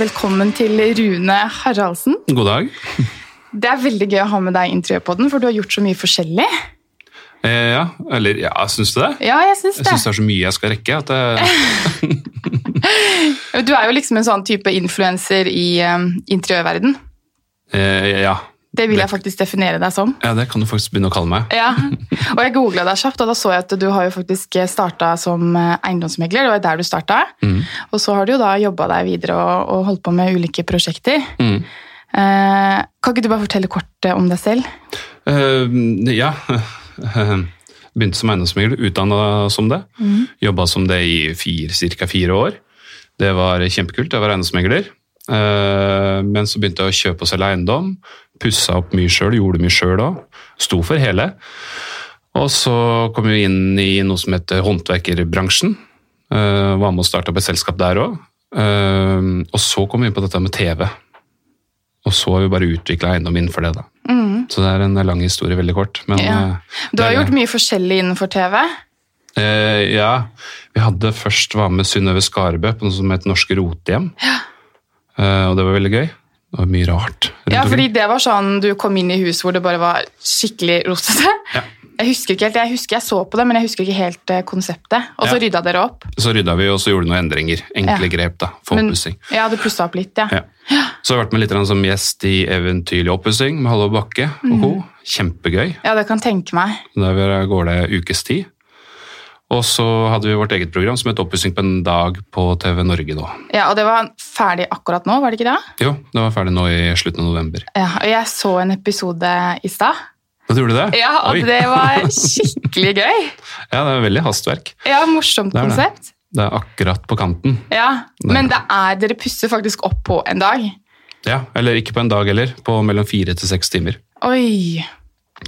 Velkommen til Rune Haraldsen. God dag. Det er veldig gøy å ha med deg i Interiørpodden, for du har gjort så mye forskjellig. Eh, ja, eller ja, syns du det? Ja, jeg syns Jeg det. syns det er så mye jeg skal rekke. at det... Du er jo liksom en sånn type influenser i eh, interiørverden. Eh, ja. Det vil Det- jeg faktisk definere deg som. ja, det kan du faktisk begynne å kalle meg. Ja, og jeg googla deg kjapt, og da så jeg at du har jo faktisk starta som eh, eiendomsmegler. Det var der du starta. Og så har du jo da jobba deg videre og, og holdt på med ulike prosjekter. Mm. Eh, kan ikke du bare fortelle kort eh, om deg selv? Eh, ja. Begynte som eiendomsmegler, utdanna som det. Jobba som det i ca. fire år. Det var kjempekult. Jeg var eiendomsmegler. Eh, men så begynte jeg å kjøpe og selge eiendom. Pussa opp mye sjøl, gjorde mye sjøl òg. Sto for hele. Og så kom vi inn i noe som heter håndverkerbransjen. Eh, var med og starta opp et selskap der òg. og så kom vi inn på dette med TV. Og så har vi bare utvikla eiendom innenfor det, da. Så det er en lang historie, veldig kort. Men, Mm. Ja. eh, Du har det er- gjort mye forskjellig innenfor TV. Eh, ja, vi hadde først var med Synnøve Skarbø på noe som het Norske Rotehjem. Eh, og det var veldig gøy. Det var mye rart. rundt Ja, fordi omkring. det var sånn du kom inn i hus hvor det bare var skikkelig rotete. Ja. Jeg husker ikke helt, jeg husker jeg så på det, men jeg husker ikke helt eh, konseptet. Og så Ja. rydda dere opp. Så rydda vi, og så gjorde vi noen endringer. Enkle Ja. grep, da. For Men, oppussing. ja, du pussa opp litt, ja. Ja. Så har jeg vært med litt grann som gjest i Eventyrlig oppussing med Halvor Bakke og Mm. co. Kjempegøy. Ja, det kan tenke meg. Der vi- går det ukes tid. Og så hadde vi vårt eget program som het Oppussing på en dag på TV Norge nå. Ja, Og det var ferdig akkurat nå, var det ikke det? Jo, det var ferdig nå i slutten av november. Ja, og jeg så en episode i stad. Da tror du det? Ja, og Oi. det var skikkelig gøy. ja, det er veldig hastverk. Ja, morsomt Det er det. konsept. Det er akkurat på kanten. Ja, Men det er, dere pusser faktisk opp på en dag. Ja, Eller ikke på en dag heller. På mellom fire til seks timer. Oi.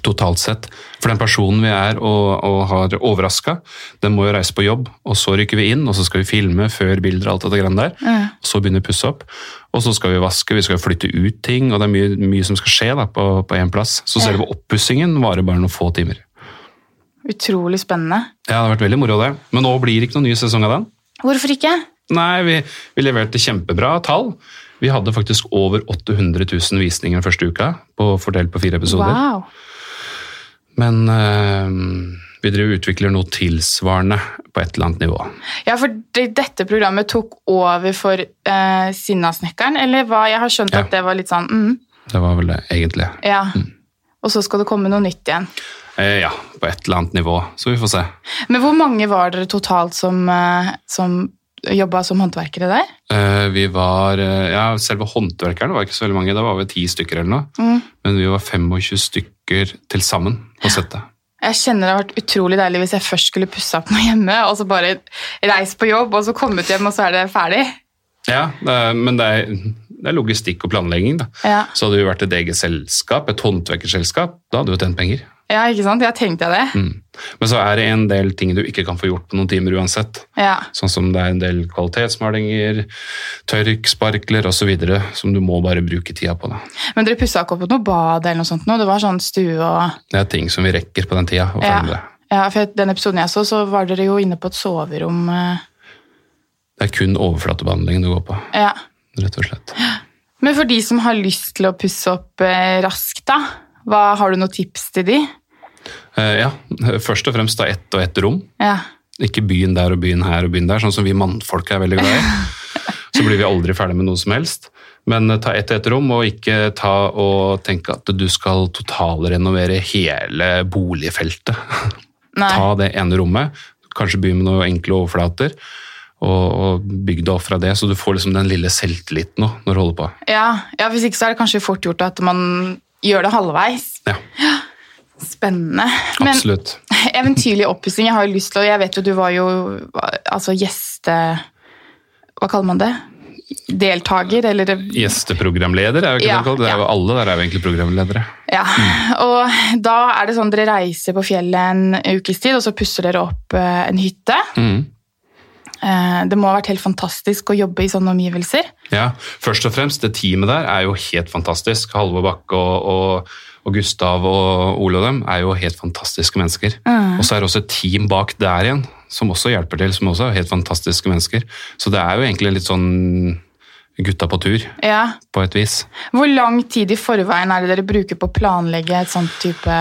Totalt sett. For den personen vi er og, og har overraska, den må jo reise på jobb. Og så rykker vi inn, og så skal vi filme før bilder og alt dette greiene der. Ja. Og så begynner vi å pusse opp. Og så skal vi vaske, vi skal flytte ut ting, og det er mye, mye som skal skje da, på, på én plass. Så Ja. selve oppussingen varer bare noen få timer. Utrolig spennende. Ja, det har vært veldig moro, det. Men nå blir det ikke noen ny sesong av den. Hvorfor ikke? Nei, vi, vi leverte kjempebra tall. Vi hadde faktisk over 800 000 visninger den første uka, på fordelt på fire episoder. Wow. Men eh, vi driver og utvikler noe tilsvarende på et eller annet nivå. Ja, for det, dette programmet tok over for eh, Sinnasnekkeren, eller hva? Jeg har skjønt Ja. Mm. at det var litt sånn mm, Det var vel det, egentlig. Ja. Og så skal det komme noe nytt igjen. Eh, ja, på et eller annet nivå. Så vi får se. Men hvor mange var dere totalt som, eh, som jobba som håndverkere der? Eh, vi var eh, Ja, selve håndverkerne var ikke så veldig mange. Da var vi ti stykker eller noe. Men vi var 25 stykker til sammen på settet. Jeg kjenner det har vært utrolig deilig hvis jeg først skulle pussa opp noe hjemme, og så bare reist på jobb, og så kommet hjem, og så er det ferdig. Ja, det er, men det er, det er logistikk og planlegging, da. Ja. Så hadde vi vært et eget selskap, et håndverkerselskap, da hadde vi tjent penger. Ja, ikke sant? Jeg tenkte jeg det. Mm. Men så er det en del ting du ikke kan få gjort på noen timer uansett. Ja. Sånn som det er en del kvalitetsmalinger, tørk, sparkler osv. som du må bare bruke tida på. Da. Men dere pussa ikke opp noe bad eller noe sånt nå? Det var sånn stue og Det er ting som vi rekker på den tida. å Ja. følge med. Ja, for den episoden jeg så, så var dere jo inne på et soverom. eh, Det er kun overflatebehandlingen du går på, Ja. rett og slett. Men for de som har lyst til å pusse opp eh, raskt, da, hva, har du noen tips til de? Eh, ja, først og fremst da ett og ett rom. Ja. Ikke byen der og byen her og byen der, sånn som vi mannfolk er veldig glad i. Så blir vi aldri ferdig med noe som helst. Men eh, ta ett og ett rom, og ikke ta og tenke at du skal totalrenovere hele boligfeltet. Nei. Ta det ene rommet, kanskje begynne med noen enkle overflater, og, og bygg det opp fra det, så du får liksom den lille selvtilliten nå, når du holder på. Ja. ja, Hvis ikke så er det kanskje fort gjort at man gjør det halvveis. Ja, Spennende. Men absolutt. eventyrlig oppussing, jeg har jo lyst til å Jeg vet jo du var jo altså gjeste... Hva kaller man det? Deltaker, eller Gjesteprogramleder er jo ikke Ja, det kalt. Det er jo alle der er jo egentlig programledere. Ja, og da er det sånn dere reiser på fjellet en ukes tid, og så pusser dere opp eh, en hytte. Mm. Eh, Det må ha vært helt fantastisk å jobbe i sånne omgivelser. Ja, først og fremst, det teamet der er jo helt fantastisk. Halvor Bakke og, og, og Gustav og Ole og dem er jo helt fantastiske mennesker. Mm. Og så er det også et team bak der igjen, som også hjelper til, som også er helt fantastiske mennesker. Så det er jo egentlig litt sånn gutta på tur, Ja. på et vis. Hvor lang tid i forveien er det dere bruker på å planlegge et sånt type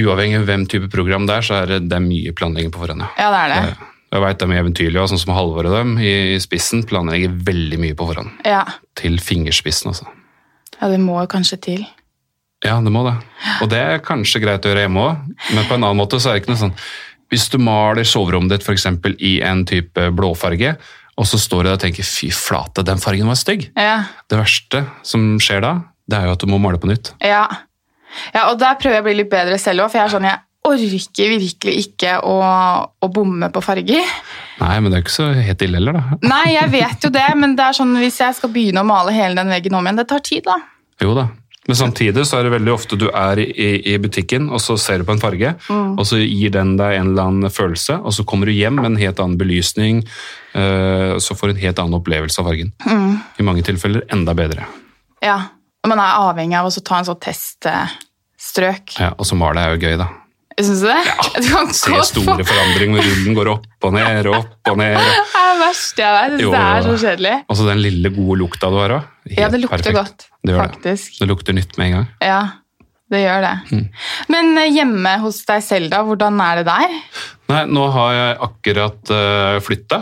Uavhengig av hvem type program det er, så er det, det er mye planlegging på forhånd. ja. Ja, det er det. Eh, Jeg veit de eventyrlige, og sånn som Halvor og dem i i spissen, planlegger veldig mye på forhånd. Ja, Til fingerspissen, altså. ja det må jo kanskje til. Ja, det må det. Og det er kanskje greit å gjøre hjemme òg, men på en annen måte så er det ikke noe sånn Hvis du maler soverommet ditt f.eks. i en type blåfarge, og så står du der og tenker 'fy flate, den fargen var stygg', Ja, det verste som skjer da, det er jo at du må male på nytt. ja. ja og der prøver jeg å bli litt bedre selv òg, for jeg er sånn jeg orker virkelig ikke å, å bomme på farger. Nei, men det er jo ikke så helt ille heller, da. Nei, jeg vet jo det, men det er sånn hvis jeg skal begynne å male hele den veggen om igjen, det tar tid, da. Jo da. Men samtidig så er det veldig ofte du er i, i butikken, og så ser du på en farge, Mm. og så gir den deg en eller annen følelse, og så kommer du hjem med en helt annen belysning, eh, så får du en helt annen opplevelse av fargen. Mm. I mange tilfeller enda bedre. Ja, og Man er avhengig av å så ta en sånn teststrøk. Ja, og så male er jo gøy, da. Syns du det? Du kan Se godt få- store forandringer hvor rullen går opp og ned og opp og ned. Det er det verste jeg vet. Jo, det jo, er jo. så kjedelig. Og så den lille gode lukta du har òg. Ja, det lukter godt, Det gjør det. faktisk. Det lukter nytt med en gang. Ja, det gjør det. Mm. Men eh, hjemme hos deg selv, da, hvordan er det der? Nei, nå har jeg akkurat uh, flytta.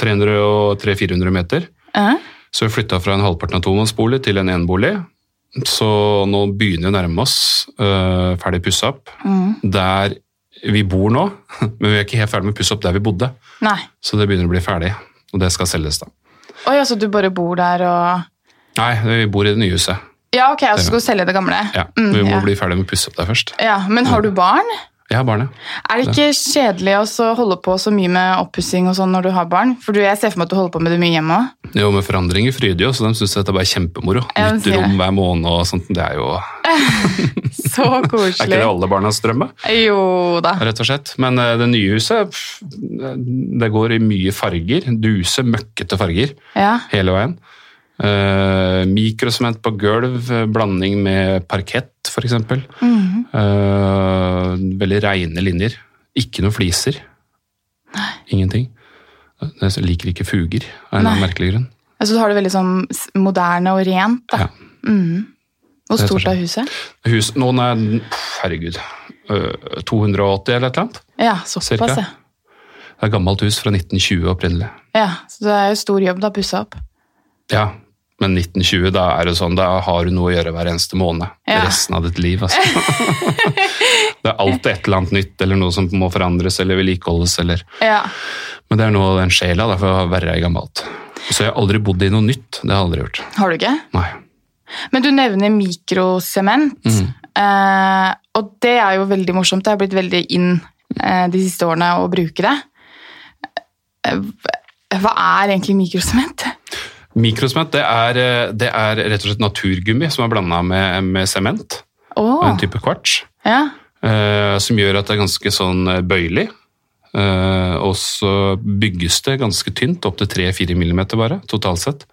300-400 meter. Eh? Så vi flytta fra en halvparten av tomannsbolig til en enebolig. Så nå begynner vi å nærme oss øh, ferdig pussa opp. Mm. Der vi bor nå, men vi er ikke helt ferdig med å pusse opp der vi bodde. Nei. Så det begynner å bli ferdig, og det skal selges da. Oi, altså du bare bor der og Nei, vi bor i det nye huset. Ja, ok, og så skal du selge det gamle? Ja, Mm, vi må ja. bli Mm. ferdig med å pusse opp der først. ja. Men har du barn? Jeg har barnet. Er det ikke kjedelig å så holde på så mye med oppussing og sånn når du har barn? For du, jeg ser for meg at du holder på med det mye hjemme òg. Jo, men forandringer fryder jo, så de syns dette er bare kjempemoro. Ja, de Nytt sier det. rom hver måned og sånt. Det er jo Er Så ikke koselig. det alle barnas drømme? Jo da. rett og slett. Men eh, det nye huset, pff, det går i mye farger. Duse, møkkete farger Ja. hele veien. Eh, mikrosement på gulv, eh, blanding med parkett f.eks. Mhm. Eh, veldig reine linjer. Ikke noe fliser. Ingenting. Jeg liker ikke fuger, av en eller annen Nei. merkelig grunn. Så du har det veldig sånn s- moderne og rent, da. Ja. sånn. Mhm. Hvor Rett og stort er huset? Hus, noen er pff, Herregud. eh, 280 eller et eller annet. Ja, Cirka. såpass, ja. Det er et gammelt hus fra 1920 opprinnelig. ja. Så det er jo stor jobb, da, å pusse opp. Ja, men 1920, da er det sånn, da har du noe å gjøre hver eneste måned. Ja. Resten av ditt liv, altså. det er alltid et eller annet nytt, eller noe som må forandres eller vedlikeholdes. Eller. Ja. Men det er noe av den sjela, da, for å være gammelt. Så jeg har aldri bodd i noe nytt. Det har jeg aldri gjort. Har du ikke? Nei. Men du nevner mikrosement, Mm. eh, og det er jo veldig morsomt. Det har blitt veldig inn eh, de siste årene å bruke det. Eh, Hva er egentlig mikrosement? Mikrosement, det er, eh, det er rett og slett naturgummi som er blanda med med sement. Å, og En type kvarts. ja. eh, som gjør at det er ganske sånn eh, bøyelig. Eh, og så bygges det ganske tynt, opp til 3-4 millimeter bare, totalt sett.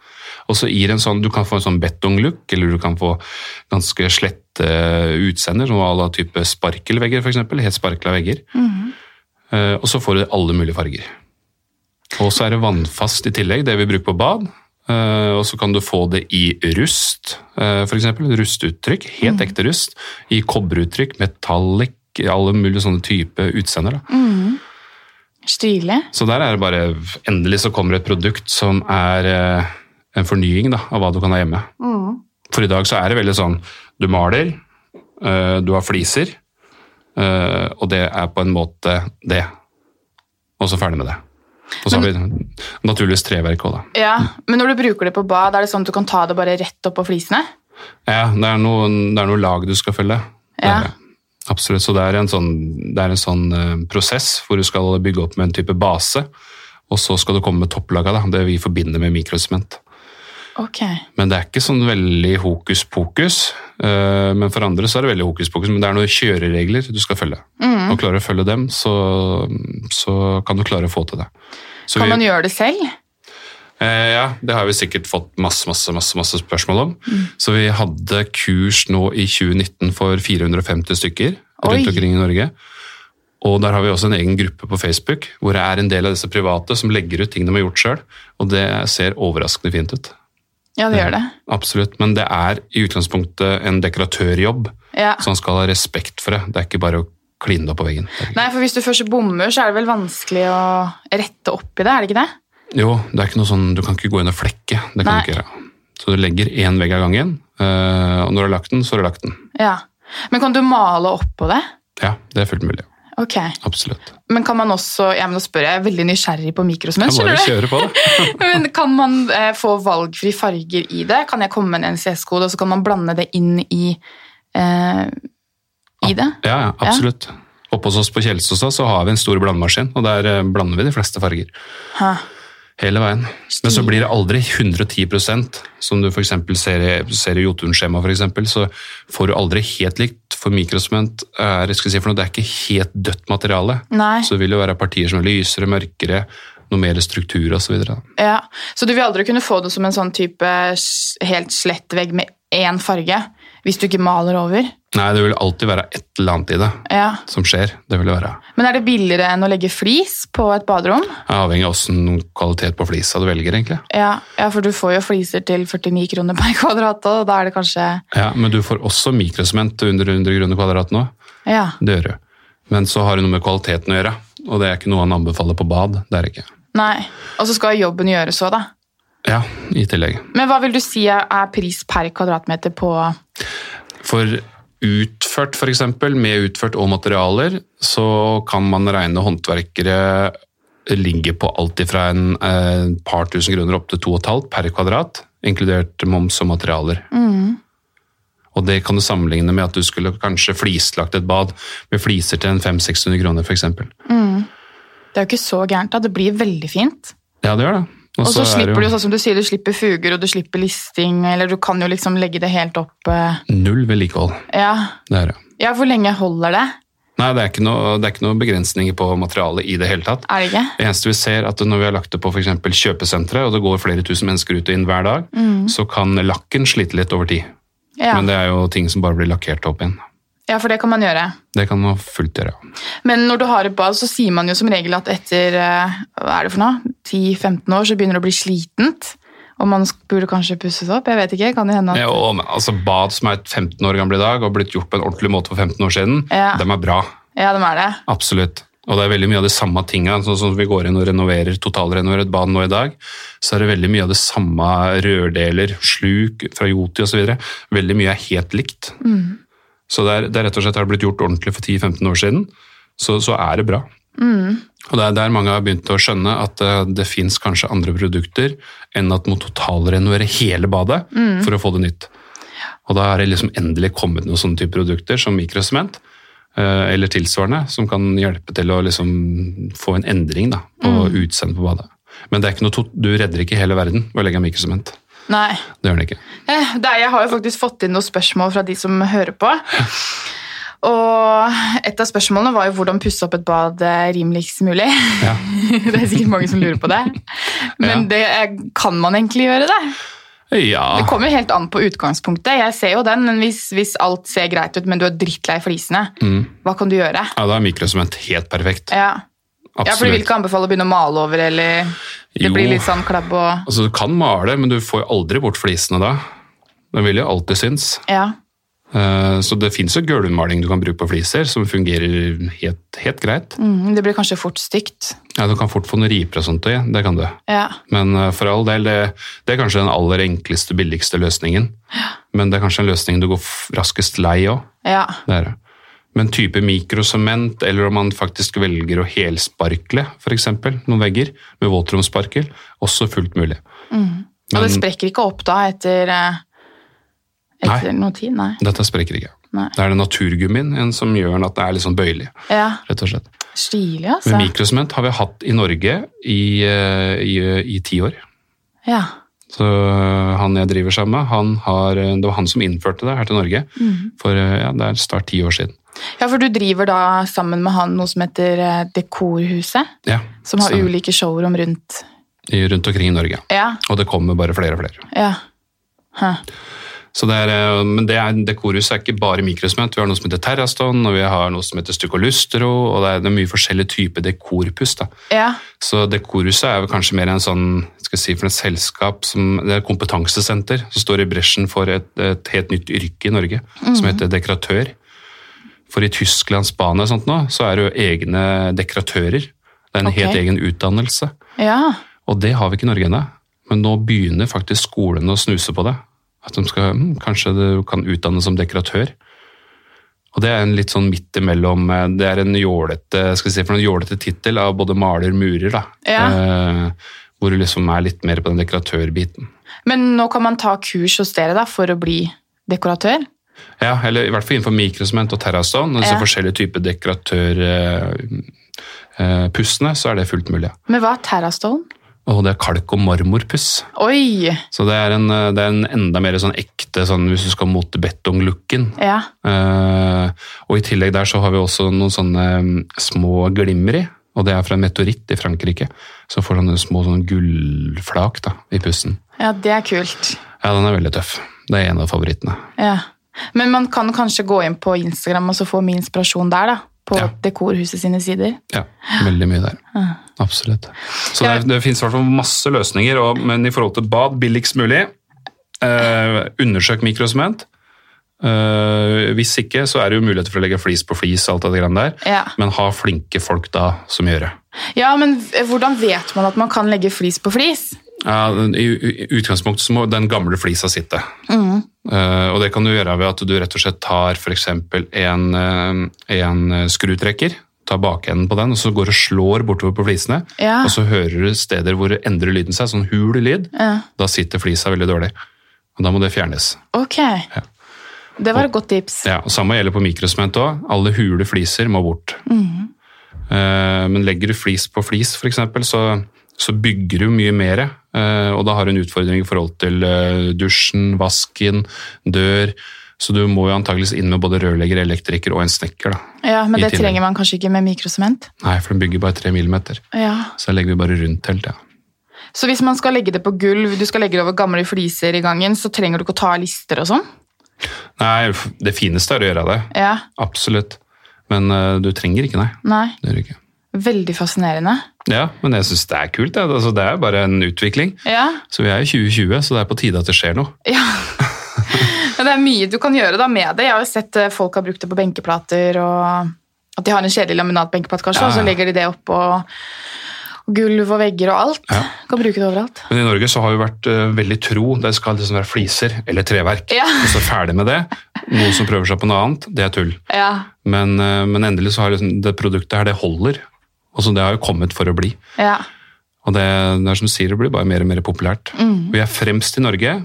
Og så gir en sånn, Du kan få en sånn betonglook, eller du kan få ganske slette eh, utseender, som à la type sparkelvegger, f.eks. Helt sparkla vegger. Eh, og så får du alle mulige farger. Og så er det vannfast i tillegg, det vi bruker på bad. Eh, og så kan du få det i rust, eh, for eksempel. Rustuttrykk, helt ekte rust. I kobberuttrykk, metallic, alle mulige sånne type utseender. Da. Stilig. Så der er det bare Endelig så kommer et produkt som er eh, en fornying da, av hva du kan ha hjemme. For i dag så er det veldig sånn Du maler, eh, du har fliser, eh, og det er på en måte det. Og så ferdig med det. Og så har vi naturligvis treverk òg, da. Ja, Men når du bruker det på bad, er det sånn at du kan ta det bare rett opp på flisene? Ja, det er noen, det er noen lag du skal følge. Det Ja. er det. Absolutt. Så det er en sånn, det er en sånn eh, prosess hvor du skal bygge opp med en type base, og så skal du komme med topplaga, da. det vi forbinder med mikrosement. Ok. Men det er ikke sånn veldig hokus pokus. eh, Men for andre så er det veldig hokus pokus, men det er noen kjøreregler du skal følge. Mm. Og klarer du å følge dem, så, så kan du klare å få til det. Så Kan vi- man gjøre det selv? Eh, Ja, det har vi sikkert fått masse, masse, masse, masse spørsmål om. Så vi hadde kurs nå i 2019 for 450 stykker Oi. rundt omkring i Norge. Og der har vi også en egen gruppe på Facebook, hvor det er en del av disse private som legger ut ting de har gjort sjøl. Og det ser overraskende fint ut. Ja, det gjør det. Absolutt. Men det er i utgangspunktet en dekoratørjobb, Ja. så han skal ha respekt for det. Det er ikke bare å kline det opp på veggen. Nei, for hvis du først bommer, så er det vel vanskelig å rette opp i det, er det ikke det? Jo, det er ikke noe sånn, du kan ikke gå inn og flekke. Det kan Nei. du ikke gjøre. Så du legger én vegg av gangen, eh, og når du har lagt den, så har du lagt den. Ja. Men kan du male oppå det? Ja, det er fullt mulig. Ok. Absolutt. Men kan man også Ja, men nå spør jeg, jeg er veldig nysgjerrig på mikrosmør, Jeg skjønner bare du? kjører på det. Men kan man eh, få valgfri farger i det? Kan jeg komme med en NCS-kode, og så kan man blande det inn i eh, i det? Ja, ja, absolutt. Oppe hos oss på Kjelsås så har vi en stor blandemaskin, og der eh, blander vi de fleste farger. Hæ. Hele veien. Men så blir det aldri 110 som du for eksempel ser i, ser i Jotun-skjema for eksempel, så får du aldri helt likt, for mikrosement er, skal jeg si for noe, det er ikke helt dødt materiale. Nei. Så det vil jo være partier som er lysere, mørkere, noe mer struktur og så videre. da. Ja, Så du vil aldri kunne få det som en sånn type s- helt slett vegg med én farge? Hvis du ikke maler over? Nei, det vil alltid være et eller annet i det Ja. som skjer. Det vil det være. Men er det billigere enn å legge flis på et baderom? Det er Avhengig av hvilken kvalitet på flisa du velger, egentlig. Ja, ja, for du får jo fliser til 49 kroner per kvadrat, og da er det kanskje Ja, Men du får også mikrosement til under 100 kroner kvadrat nå. Ja. Det gjør du. Men så har det noe med kvaliteten å gjøre, og det er ikke noe han anbefaler på bad. Det er det ikke. Nei. Og så skal jobben gjøres òg, da. Ja, i tillegg. Men hva vil du si er- er pris per kvadratmeter på For utført, for eksempel, med utført og materialer, så kan man regne håndverkere ligge på alt ifra en eh, par tusen kroner opp til to og et halvt per kvadrat, inkludert moms og materialer. Mm. Og det kan du sammenligne med at du skulle kanskje flislagt et bad med fliser til en 500-600 kroner, for eksempel. Det er jo ikke så gærent, da. Det blir veldig fint. Ja, det gjør det. Og så er det slipper du jo, sånn som du sier, du slipper fuger, og du slipper listing, eller du kan jo liksom legge det helt opp eh, Null vedlikehold, Ja. det er det. Ja, hvor lenge holder det? Nei, det er ikke noe, det er ikke noe begrensninger på materialet i det hele tatt. Er det ikke? Det eneste vi ser at når vi har lagt det på for eksempel kjøpesentre, og det går flere tusen mennesker ut og inn hver dag, så kan lakken slite litt over tid. Mm. Ja. Men det er jo ting som bare blir lakkert opp igjen. ja, for det kan man gjøre. Det kan man fullt gjøre. Men når du har et bad, så sier man jo som regel at etter eh, hva er det for noe? 10-15 år så begynner det å bli slitent. Og man sk- burde kanskje pusses opp. Jeg vet ikke. Kan det hende at Ja, og, men, altså, bad som er et 15 år gamle i dag, og blitt gjort på en ordentlig måte for 15 år siden, Ja. dem er bra. Ja, de er det. Absolutt. Og det er veldig mye av de samme tinga. Sånn som vi går inn og renoverer, totalrenoverer et bad nå i dag, så er det veldig mye av det samme rørdeler, sluk fra Joti osv. Veldig mye er helt likt. Så det er, det er rett og slett har det blitt gjort ordentlig for 10-15 år siden, så, så er det bra. Og det er der mange har begynt å skjønne at eh, det fins kanskje andre produkter enn at man totalrenovere hele badet for å få det nytt. Og da har det liksom endelig kommet noen sånne type produkter som mikrosement eh, eller tilsvarende, som kan hjelpe til å liksom få en endring da, på Mm. utseendet på badet. Men det er ikke noe tot- du redder ikke hele verden ved å legge mikrosement. Nei. Det gjør den ikke. Eh, Det er, jeg har jo faktisk fått inn noen spørsmål fra de som hører på. Og et av spørsmålene var jo hvordan pusse opp et bad eh, rimeligst mulig. Ja. Det er sikkert mange som lurer på det. Men Ja. Ah. det eh, kan man egentlig gjøre det. ja. Det kommer jo helt an på utgangspunktet. Jeg ser jo den, men hvis, hvis alt ser greit ut, men du er drittlei flisene, Mm. hva kan du gjøre? Ja, da er mikrosement helt perfekt. Ja. ja, for du vil Absolutt. ikke anbefale å begynne å male over, eller det Jo. blir litt sånn klabb og Altså, du kan male, men du får jo aldri bort flisene da. Den vil jo alltid synes. Ja. Eh, Så det fins jo gulvmaling du kan bruke på fliser, som fungerer helt, helt greit. Mm, det blir kanskje fort stygt. Ja, Du kan fort få noen riper og sånt i, det kan du. Ja. Men eh, for all del, det, det er kanskje den aller enkleste, billigste løsningen. Men det er kanskje en løsning du går f- raskest lei òg. ja. Det er det. Men type mikrosement, eller om man faktisk velger å helsparkle f.eks. noen vegger med våtromssparkel, også fullt mulig. Og det sprekker ikke opp da etter, eh, etter noe tid? Nei. Dette sprekker ikke. Nei. Det er den naturgummien en som gjør den at det er litt sånn bøyelig, Ja. rett og slett. Stilig, Men altså. mikrosement har vi hatt i Norge i, eh, i, i ti år. Ja. Så eh, han jeg driver sammen med, han har, eh, det var han som innførte det her til Norge. Mhm. For eh, ja, det er snart ti år siden. ja, for du driver da sammen med han noe som heter eh, Dekorhuset? Ja, Som har stemmer. ulike showrom rundt I- Rundt omkring i Norge. Ja. Og det kommer bare flere og flere. ja. Hæ. Så det er, eh, men det, er, det koruset er ikke bare mikrosement. Vi har noe som heter terraston, og vi har noe som heter stukolustro, og det er, det er mye forskjellige typer dekorpuss. da. Ja. Så Dekorhuset er vel kanskje mer en sånn, skal jeg si, for et selskap som, det er et kompetansesenter som står i bresjen for et, et helt nytt yrke i Norge, som heter dekoratør. For i Tyskland, Spania og sånt nå, så er det jo egne dekoratører. Det er en Ok. helt egen utdannelse. ja. Og det har vi ikke i Norge ennå. Men nå begynner faktisk skolene å snuse på det. At de skal, «Hm, kanskje du kan utdanne som dekoratør. Og det er en litt sånn midt imellom eh, Det er en jålete skal jeg si, for en jålete tittel av både maler og murer. da. Eh, hvor du liksom er litt mer på den dekoratørbiten. Men nå kan man ta kurs hos dere da, for å bli dekoratør? Ja, eller i hvert fall innenfor mikrosement og terrastone, altså Ja. forskjellige typer dekoratørpustene, eh, pustene, så er det fullt mulig. ja. Men hva er terrastålen? Og det er kalk- og marmorpuss. Oi! Så det er en, eh, det er en enda mer sånn ekte, sånn, hvis du skal mot betonglooken. Ja. Eh, og i tillegg der så har vi også noen sånne mm, små glimmer i, og det er fra en meteoritt i Frankrike, som får sånne små sånn gullflak da, i pussen. ja, det er kult. Ja, den er veldig tøff. Det er en av favorittene. Ja. Men man kan kanskje gå inn på Instagram og så få mye inspirasjon der, da. På Ja. Dekorhuset sine sider. Ja, veldig mye der. Absolutt. Så det, er- det finnes i hvert fall masse løsninger, og, men i forhold til bad, billigst mulig. Eh, undersøk mikrosement. Eh, hvis ikke, så er det jo muligheter for å legge flis på flis, alt det grann der. Ja. Men ha flinke folk da som gjør det. ja, men v- hvordan vet man at man kan legge flis på flis? Ja, I i utgangspunktet så må den gamle flisa sitte. Mm. Eh, og det kan du gjøre ved at du rett og slett tar f.eks. En, eh, en eh, skrutrekker, tar bakenden på den, og så går du og slår bortover på flisene. Ja. Og så hører du steder hvor det endrer lyden seg, sånn hul lyd. Ja. Da sitter flisa veldig dårlig. Og da må det fjernes. Ok. Det var et godt tips. Ja, og Samme gjelder på mikrosement òg. Alle hule fliser må bort. Eh, men legger du flis på flis, f.eks., så, så bygger du mye mer. eh, og da har du en utfordring i forhold til eh, dusjen, vasken, dør. Så du må jo antakeligvis inn med både rørlegger, elektriker og en snekker. da. Ja, Men I det tillegg. trenger man kanskje ikke med mikrosement? Nei, for den bygger bare tre millimeter. Ja. Så da legger vi bare rundt hele tida. Så hvis man skal legge det på gulv, du skal legge det over gamle fliser i gangen, så trenger du ikke å ta lister og sånn? Nei, f- det fineste er å gjøre det. Ja. Absolutt. Men eh, du trenger ikke, nei. Nei. Det gjør du ikke. Veldig fascinerende. Ja, men jeg syns det er kult. Det. Altså, det er bare en utvikling. Ja. Så vi er i 2020, så det er på tide at det skjer noe. ja. Men det er mye du kan gjøre da med det. Jeg har jo sett eh, folk har brukt det på benkeplater, og at de har en kjedelig laminatbenkeplate, kanskje, Ja, og så ja. legger de det oppå gulv og vegger og alt. Ja. Kan bruke det overalt. Men i Norge så har vi vært eh, veldig tro. Det skal liksom være fliser eller treverk. Ja. Og så ferdig med det. Noen som prøver seg på noe annet, det er tull. Ja. Men, eh, men endelig så har liksom, det produktet her, det holder. Og så det har jo kommet for å bli. Ja. Og det, det er som du sier, det blir bare mer og mer populært. Mm. Vi er fremst i Norge.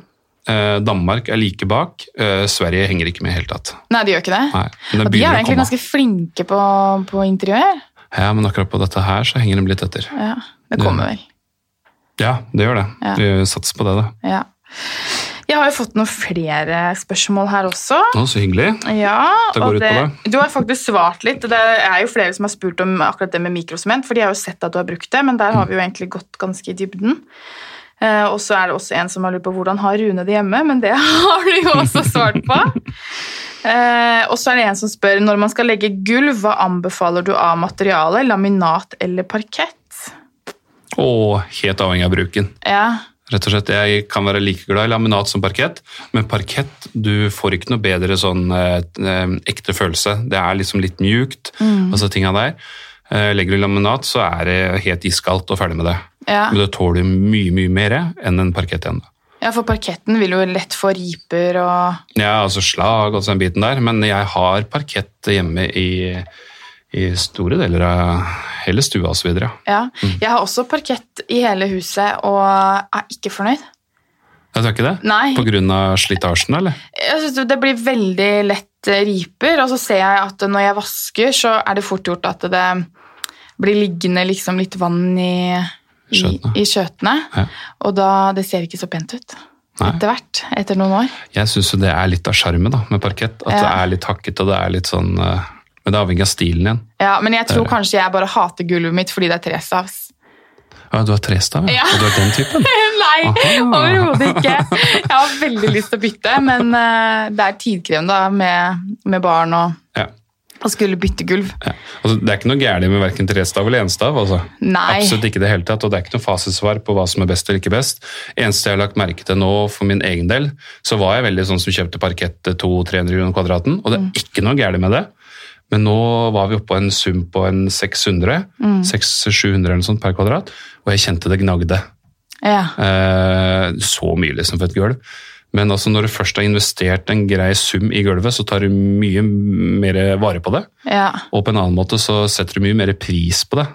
Eh, Danmark er like bak. Eh, Sverige henger ikke med i det hele tatt. Nei, de gjør ikke det. Nei, Og de men det er begynner å egentlig komme. ganske flinke på, på interiør. Ja, men akkurat på dette her så henger de litt etter. Ja, det kommer vel. Ja, det gjør det. Ja. Vi satser på det, da. Ja. Jeg har jo fått noen flere spørsmål her også. Å, så hyggelig. Ja, Det går og ut på det- Du har faktisk svart litt. og Det er jo flere som har spurt om akkurat det med mikrosement, for de har jo sett at du har brukt det, men der Mm. har vi jo egentlig gått ganske i dybden. Eh, og så er det også en som har lurt på hvordan har Rune det hjemme, men det har du jo også svart på. Eh, og så er det en som spør når man skal legge gulv, hva anbefaler du av materiale? Laminat eller parkett? Og helt avhengig av bruken. Ja, Rett og slett, Jeg kan være like glad i laminat som parkett, men parkett du får ikke noe bedre sånn eh, eh, ekte følelse. Det er liksom litt mjukt. Mm. altså tinga der. Eh, legger du laminat, så er det helt iskaldt og ferdig med det. ja. Men det tåler mye mye mer enn en parkett igjen. da. ja, for parketten vil jo lett få riper og Ja, altså slag og den biten der, men jeg har parkett hjemme i, i store deler av hele stua osv. Jeg Ja. Jeg har også parkett i hele huset og er ikke fornøyd. tror ikke det. Nei, På grunn av slitasjen, eller? jeg synes det blir veldig lett eh, riper, og så ser jeg at når jeg vasker, så er det fort gjort at det blir liggende liksom litt vann i, i, Skjøtene. i skjøtene. Ja. Og da, det ser ikke så pent ut. Nei. Etter hvert, etter noen år. Jeg syns jo det er litt av sjarmen da, med parkett. At det Ja. er litt hakket, og det er litt sånn eh, Men det avhenger av stilen igjen. Ja, men jeg tror Det er det. kanskje jeg bare hater gulvet mitt fordi det er trestavs. Ja, du har trestav, ja. Ja. Og du er den typen? Nei, Aha. overhodet ikke. Jeg har veldig lyst til å bytte, men eh, det er tidkrevende da, med, med barn og, Ja. og skulle bytte gulv. Ja. Altså, det er ikke noe gærent med verken trestav eller enstav. Altså. Nei. Absolutt ikke i det hele tatt, og det er ikke noe fasitsvar på hva som er best eller ikke best. Eneste jeg har lagt merke til nå for min egen del, så var jeg veldig sånn som kjøpte parkett til 200-300 kroner kvadraten, og det Mm. er ikke noe gærent med det. Men nå var vi oppe på en sum på en 600, Mm. 600-700 eller noe sånt per kvadrat, og jeg kjente det gnagde. Ja. Eh, så mye liksom for et gulv. Men altså, når du først har investert en grei sum i gulvet, så tar du mye mer vare på det. Ja. Og på en annen måte så setter du mye mer pris på det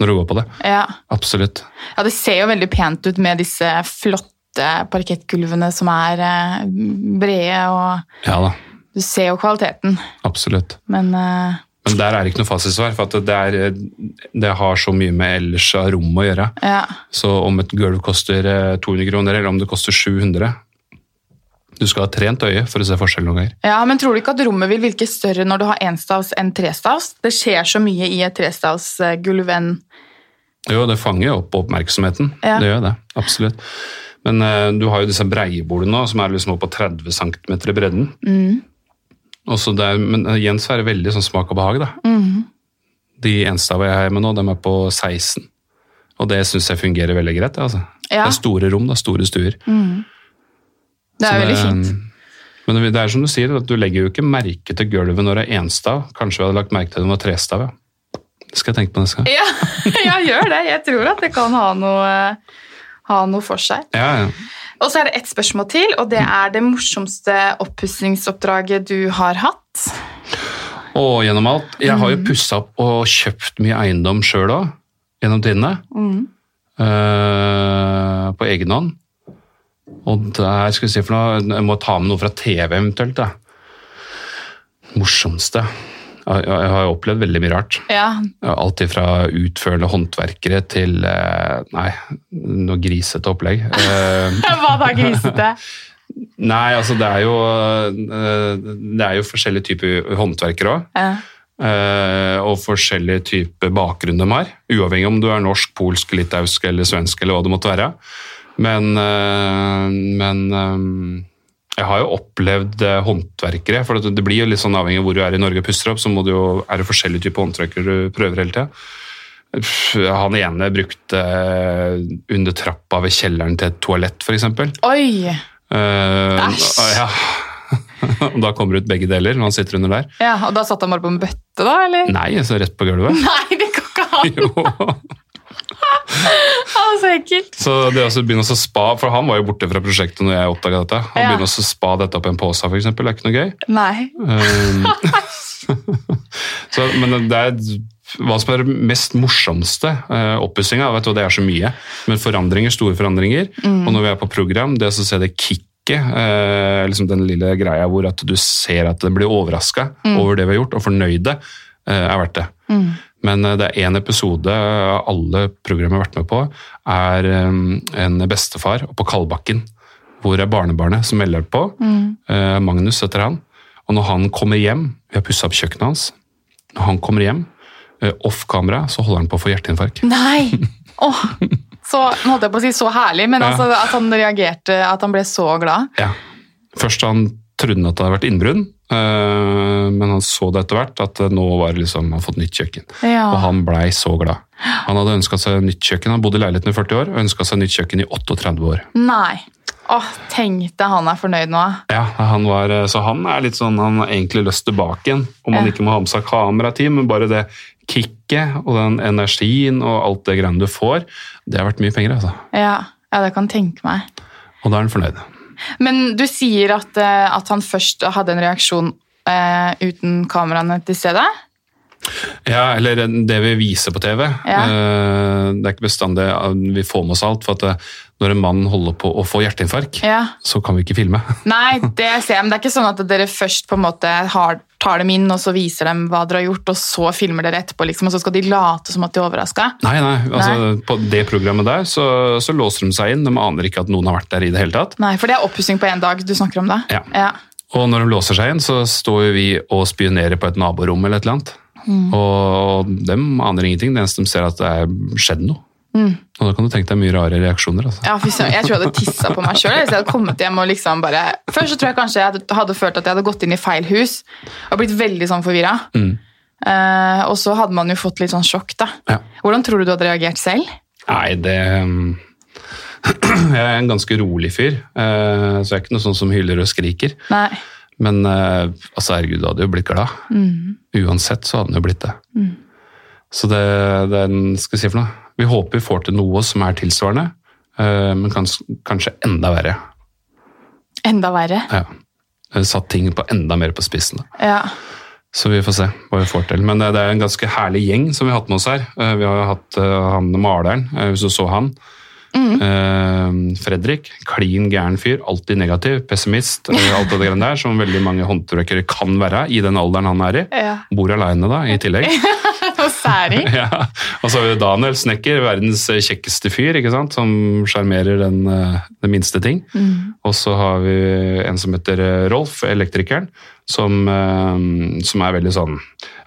når du går på det. Ja. Absolutt. ja, det ser jo veldig pent ut med disse flotte parkettgulvene som er eh, brede, og Ja da, du ser jo kvaliteten, absolutt. men eh, Men der er det ikke noe fasitsvar, for at det, er, det har så mye med ellers av rommet å gjøre. ja. Så om et gulv koster eh, 200 kroner, eller om det koster 700 Du skal ha trent øye for å se forskjell noen ganger. Ja, men tror du ikke at rommet vil virke større når du har enstavs enn trestavs? Det skjer så mye i et trestavsgulv enn Jo, det fanger jo opp oppmerksomheten. Ja. Det gjør det, absolutt. Men eh, du har jo disse breiebordene nå, som er liksom oppe på 30 cm i bredden. Mm. Og så det er- men eh, igjen så er det veldig sånn smak og behag, da. Mm. De enstava jeg har med nå, de er på 16. Og det syns jeg fungerer veldig greit. Altså. Ja. Det er store rom, det er store stuer. Det er Så eh, veldig fint. Men det det er som du sier, at du legger jo ikke merke til gulvet når det er enstav. Kanskje vi hadde lagt merke til det når det var trestav, ja. Det skal jeg tenke på neste gang. Ja, jeg gjør det. Jeg tror at det kan ha noe, ha noe for seg. Ja, ja. Og så er det ett spørsmål til, og det er det morsomste oppussingsoppdraget du har hatt. Og gjennom alt. Jeg har jo pussa opp og kjøpt mye eiendom sjøl òg, gjennom tidene. Eh, på egen hånd. Og der skal vi si for noe Jeg må ta med noe fra TV eventuelt, da. Morsomste. Jeg, jeg, jeg har jo opplevd veldig mye rart. Ja, Alt ifra utførende håndverkere til eh, Nei, noe grisete opplegg. Eh, hva da, grisete? nei, altså det er jo eh, Det er jo forskjellige typer håndverkere òg. Ja. Eh, og forskjellig type bakgrunn de har. Uavhengig om du er norsk, polsk, litauisk eller svensk eller hva det måtte være. Men, eh, men eh, jeg har jo opplevd eh, håndverkere. For det, det blir jo litt sånn avhengig av hvor du er i Norge og puster opp, så må du jo, er det forskjellige typer håndverkere du prøver hele tida. Han ene brukte eh, under trappa ved kjelleren til et toalett, f.eks. Oi! Uh, Æsj. ja. Og da kommer det ut begge deler når han sitter under der. Ja, og da satt han bare på en bøtte, da? eller? Nei, så rett på gulvet. Nei, det går ikke an! Mm. Jo. Å, så ekkelt. Så det å så begynne å spa, for han var jo borte fra prosjektet når jeg oppdaga dette. Han Ja. begynner å så spa dette opp i en pose, for eksempel, er ikke noe gøy. Nei. Um, så, men det er hva som er det mest morsomste uh, oppussinga. Vet du, det er så mye. Men forandringer, store forandringer. Og når vi er på program, det å så se det kicket, eh, liksom den lille greia hvor at du ser at den blir overraska over det vi har gjort, og fornøyde, eh, er verdt det. Men eh, det er én episode av alle program jeg har vært med på, er eh, en bestefar oppå Kalbakken. Hvor er barnebarnet som melder på? Eh, Magnus heter han. Og når han kommer hjem Vi har pussa opp kjøkkenet hans. Når han kommer hjem, eh, off kamera, så holder han på å få hjerteinfarkt. Nei! Åh, så, nå holdt jeg på å si så herlig, men Ja. altså, at han reagerte, at han ble så glad. Ja. Først han trodde han at det hadde vært innbrudd, eh, men han så det etter hvert at eh, nå var det liksom, han har fått nytt kjøkken. Ja. Og han blei så glad. Han hadde ønska seg nytt kjøkken, han bodde i leiligheten i 40 år og ønska seg nytt kjøkken i 38 år. Nei. Åh, tenk deg han er fornøyd nå. Ja, han var, eh, Så han er litt sånn, han har egentlig lyst tilbake igjen. Om han Ja. ikke må ha med seg kamerateam, men bare det kicket og den energien og alt det greiene du får, det har vært mye penger, altså. Ja, ja det kan jeg tenke meg. Og da er han fornøyd. Men du sier at, eh, at han først hadde en reaksjon eh, uten kameraene til stede? Ja, eller det vi viser på TV. Ja. Eh, Det er ikke bestandig eh, vi får med oss alt, for at eh, når en mann holder på å få hjerteinfarkt, Ja. så kan vi ikke filme. Nei, det ser jeg, men det er ikke sånn at dere først på en måte har, tar dem inn, og så viser dem hva dere har gjort, og så filmer dere etterpå, liksom, og så skal de late som at de er overraska? Nei, nei, altså på det programmet der så, så låser de seg inn, de aner ikke at noen har vært der i det hele tatt. Nei, for det er oppussing på én dag du snakker om da? Ja. ja. Og når de låser seg inn, så står jo vi og spionerer på et naborom eller et eller annet. Og de aner ingenting, det eneste de ser er at det er skjedd noe. Og da kan du tenke deg mye rare reaksjoner. altså. Ja, fy søren. Jeg tror jeg hadde tissa på meg sjøl. Jeg hadde kommet hjem og liksom bare Først så tror jeg kanskje jeg hadde, hadde følt at jeg hadde gått inn i feil hus og blitt veldig sånn forvirra. Eh, og så hadde man jo fått litt sånn sjokk, da. Mm. Ja. Hvordan tror du du hadde reagert selv? Nei, det um, Jeg er en ganske rolig fyr, eh, så jeg er ikke noe sånn som hyler og skriker. Nei. Men eh, altså, herregud, du hadde jo blitt glad. Uansett så hadde den jo blitt det. Så det, det er en- skal jeg si for noe. Vi håper vi får til noe som er tilsvarende, eh, men kans, kanskje enda verre. Enda verre. Ja. Eh, Satt ting på enda mer på spissen. da. Ja. Så vi får se hva vi får til. Men eh, det, det er en ganske herlig gjeng som vi har hatt med oss her. Eh, Vi har jo hatt eh, han maleren, eh, hvis du så han. Mm. Eh, Fredrik, klin gæren fyr, alltid negativ, pessimist, eh, alt det greiene der, som veldig mange håndverkere kan være i den alderen han er i. ja. Bor aleine, da, i tillegg. Og særing. Ja. Og så har vi Daniel Snekker, verdens eh, kjekkeste fyr, ikke sant? som sjarmerer den, eh, den minste ting. Mm. Og så har vi en som heter eh, Rolf, elektrikeren, som, eh, som er veldig sånn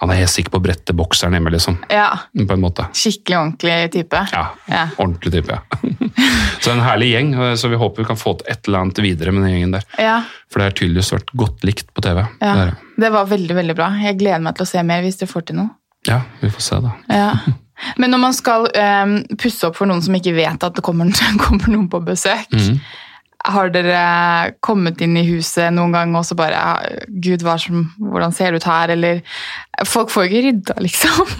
Han er helt sikker på å brette bokseren hjemme, liksom. Ja. På en måte. Skikkelig ordentlig type. Ja. Ja. Ordentlig type, ja. så en herlig gjeng, eh, så vi håper vi kan få til et eller annet videre med den gjengen der. Ja, For det har tydeligvis vært godt likt på TV. ja. Det er- Det var veldig, veldig bra. Jeg gleder meg til å se mer hvis dere får til noe. ja, vi får se, da. Ja. Men når man skal eh, pusse opp for noen som ikke vet at det kommer, kommer noen på besøk, Mhm. har dere kommet inn i huset noen gang og så bare ja, Gud, hva som, hvordan ser det ut her? Eller Folk får jo ikke rydda, liksom.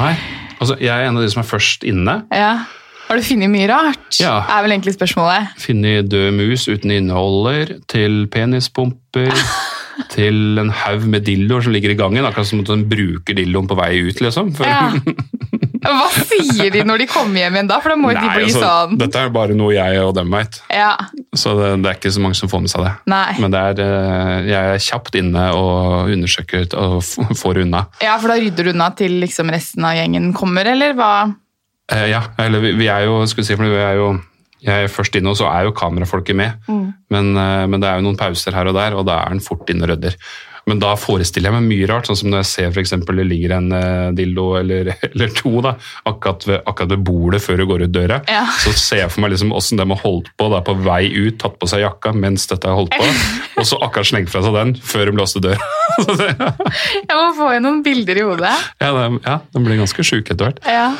Nei, altså, jeg er en av de som er først inne. Ja. Har du funnet mye rart? Ja. Er vel egentlig spørsmålet. funnet død mus uten innholder, til penispumper, til en haug med dildoer som ligger i gangen, akkurat som at den bruker dildoen på vei ut, liksom. For, Ja. Hva sier de når de kommer hjem igjen da? For da må jo de Nei, bli altså, sånn Dette er bare noe jeg og dem veit, Ja. så det, det er ikke så mange som får med seg det. Nei. Men det er, eh, jeg er kjapt inne og undersøker og f- får unna. ja, for da rydder du unna til liksom resten av gjengen kommer, eller hva? Eh, ja, eller vi, vi er jo, skulle si, for vi er jo jeg er først inne, og så er jo kamerafolket med. Men, eh, men det er jo noen pauser her og der, og da er han fort inne og rydder. Men da forestiller jeg meg mye rart, sånn som når jeg ser f.eks. det ligger en eh, dildo eller, eller to da, akkurat ved, akkurat ved bordet før du går ut døra. Ja. Så ser jeg for meg liksom åssen de har holdt på da, på vei ut, tatt på seg jakka mens dette har holdt på, og så akkurat slengt fra seg den før hun låste døra. Så det- Jeg må få inn noen bilder i hodet. ja, det, ja, den blir ganske sjuk etter hvert. Ja.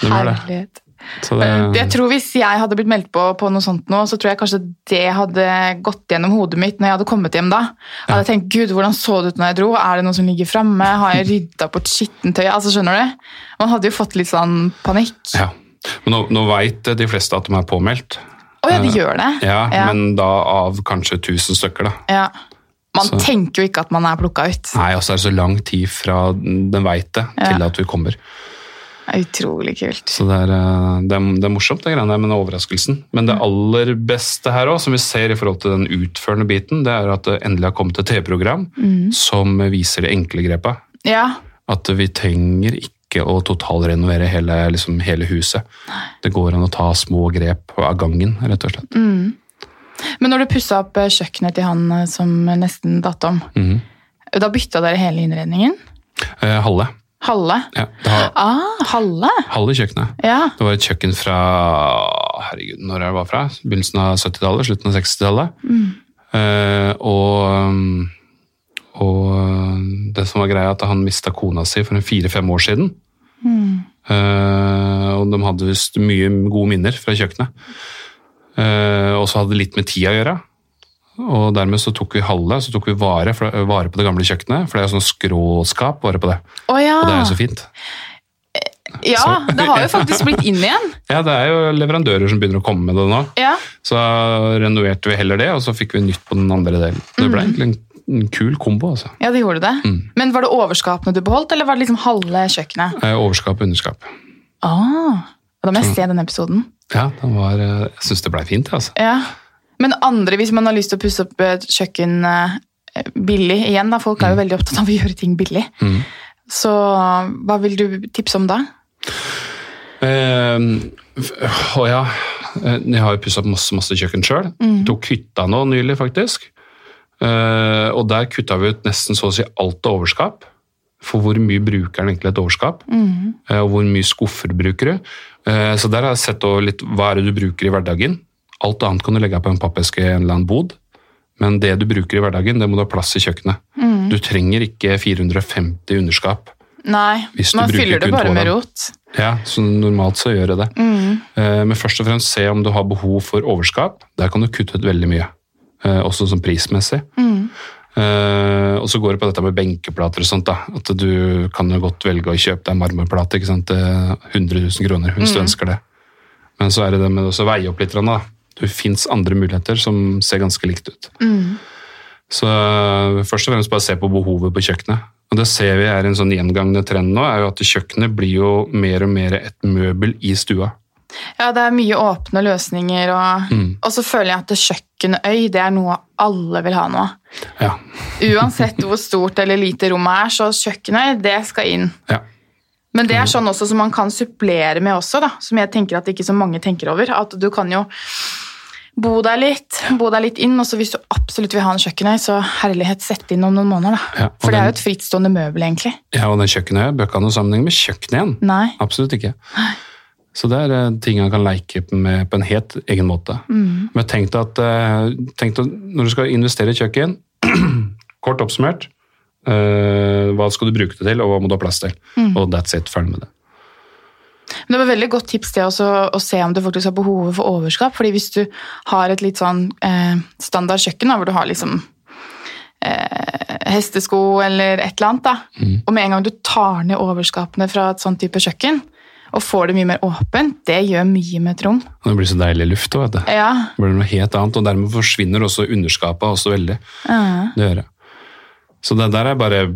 Den blir det. Herlighet. Så Eh, Jeg det, tror Hvis jeg hadde blitt meldt på på noe sånt nå, så tror jeg kanskje det hadde gått gjennom hodet mitt når jeg hadde kommet hjem da. Jeg hadde tenkt gud, hvordan så det ut når jeg dro? Er det noe som ligger framme? Har jeg rydda bort skittentøy? Altså, skjønner du? Man hadde jo fått litt sånn panikk. ja. Men nå, nå veit de fleste at de er påmeldt. Å ja, det gjør det. Ja, Ja. men da av kanskje 1000 stykker, da. Ja. Man Så- tenker jo ikke at man er plukka ut. Nei, og så er det så lang tid fra den veit det, til at vi kommer. Det er utrolig kult. Så det er, eh, det er, det er morsomt, det greiene der med den overraskelsen. Men det aller beste her òg, som vi ser i forhold til den utførende biten, det er at det endelig har kommet et TV-program som viser de enkle grepa. Ja, At vi trenger ikke å totalrenovere hele, liksom, hele huset. Det går an å ta små grep av gangen, rett og slett. Men når du pussa opp eh, kjøkkenet til han eh, som nesten datt om, Mhm. da bytta dere hele innredningen? Eh, halve. Halve? Ja, det har, Ah, halve? halve kjøkkenet. Ja. Det var et kjøkken fra herregud, når er det var fra? Begynnelsen av 70-tallet, slutten av 60-tallet. Eh, og, um, og det som var greia, at han mista kona si for en fire-fem år siden. Eh, og de hadde visst mye gode minner fra kjøkkenet. Eh, og så hadde det litt med tida å gjøre. Og dermed så tok vi halve, så tok vi vare, for, vare på det gamle kjøkkenet. For det er jo sånn skråskap vare på det. Å ja. Og det er altså jo så fint. ja, det har jo faktisk blitt inn igjen. Ja, det er jo leverandører som begynner å komme med det nå. Ja. Så renoverte vi heller det, og så fikk vi nytt på den andre delen. Det ble egentlig en, en kul kombo, altså. ja, det gjorde det. Men var det overskapene du beholdt, eller var det liksom halve kjøkkenet? Eh, Overskap og underskap. Ah, da må Mm. jeg se den episoden. Ja, den var, eh, jeg syns det blei fint, altså. Ja. Men andre, hvis man har lyst til å pusse opp et kjøkken eh, billig igjen, da, folk Mm. er jo veldig opptatt av å gjøre ting billig, så hva vil du tipse om da? Eh, f- Å ja. eh, Jeg har jo pussa opp masse, masse kjøkken sjøl. Tok hytta nå nylig, faktisk. Eh, og der kutta vi ut nesten så å si alt av overskap. for hvor mye bruker den egentlig et årskap, eh, og hvor mye skuffer brukere. Eh, Så der har jeg sett over litt hva er det du bruker i hverdagen. Alt annet kan du legge på en pappeske i en eller annen bod, men det du bruker i hverdagen, det må du ha plass i kjøkkenet. Du trenger ikke 450 underskap. Nei, Hvis du man bruker fyller det kun to bare av med dem. rot. Ja, så normalt så gjør jeg det. Eh, Men først og fremst se om du har behov for overskap. Der kan du kutte ut veldig mye, eh, også sånn prismessig. Eh, og så går det på dette med benkeplater og sånt. da, At du kan jo godt velge å kjøpe deg en marmorplate ikke sant, til 100 000 kroner hvis du ønsker det. Men så er det det med å veie opp litt. grann, da. Det fins andre muligheter som ser ganske likt ut. Så eh, først og fremst bare se på behovet på kjøkkenet. Og det ser vi er en sånn gjengangende trend nå, er jo at kjøkkenet blir jo mer og mer et møbel i stua. Ja, det er mye åpne løsninger, og, Mm. og så føler jeg at kjøkkenøy det er noe alle vil ha nå. Ja. Uansett hvor stort eller lite rommet er, så kjøkkenøy, det skal inn. ja. Men Mm. det er sånn også som man kan supplere med også, da, som jeg tenker at ikke så mange tenker over. At du kan jo bo deg litt, bo deg litt inn, og så hvis du absolutt vil ha en kjøkkenøy, så herlighet, sett inn om noen måneder, da. Ja, og For det er jo den- et frittstående møbel, egentlig. ja, og den kjøkkenet bør ikke ha noen sammenheng med kjøkkenet igjen. Nei. Absolutt ikke. Så det er eh, ting han kan leke med på en helt egen måte. Mm. Men tenk deg at eh, tenk deg, når du skal investere i kjøkken, kort oppsummert, eh, hva skal du bruke det til, og hva må du ha plass til? Mm. Og that's it, ferdig med det. Men det var veldig godt tips det også, å se om du faktisk har behovet for overskap. fordi hvis du har et litt sånn eh, standard kjøkken, da, hvor du har liksom eh, hestesko eller et eller annet, da, Mm. og med en gang du tar ned overskapene fra et sånn type kjøkken, og får det mye mer åpent, det gjør mye med et rom. Og det blir så deilig luft òg, vet du. Ja, Det blir noe helt annet, og dermed forsvinner også underskapet også veldig. Det gjør det. Så det der er bare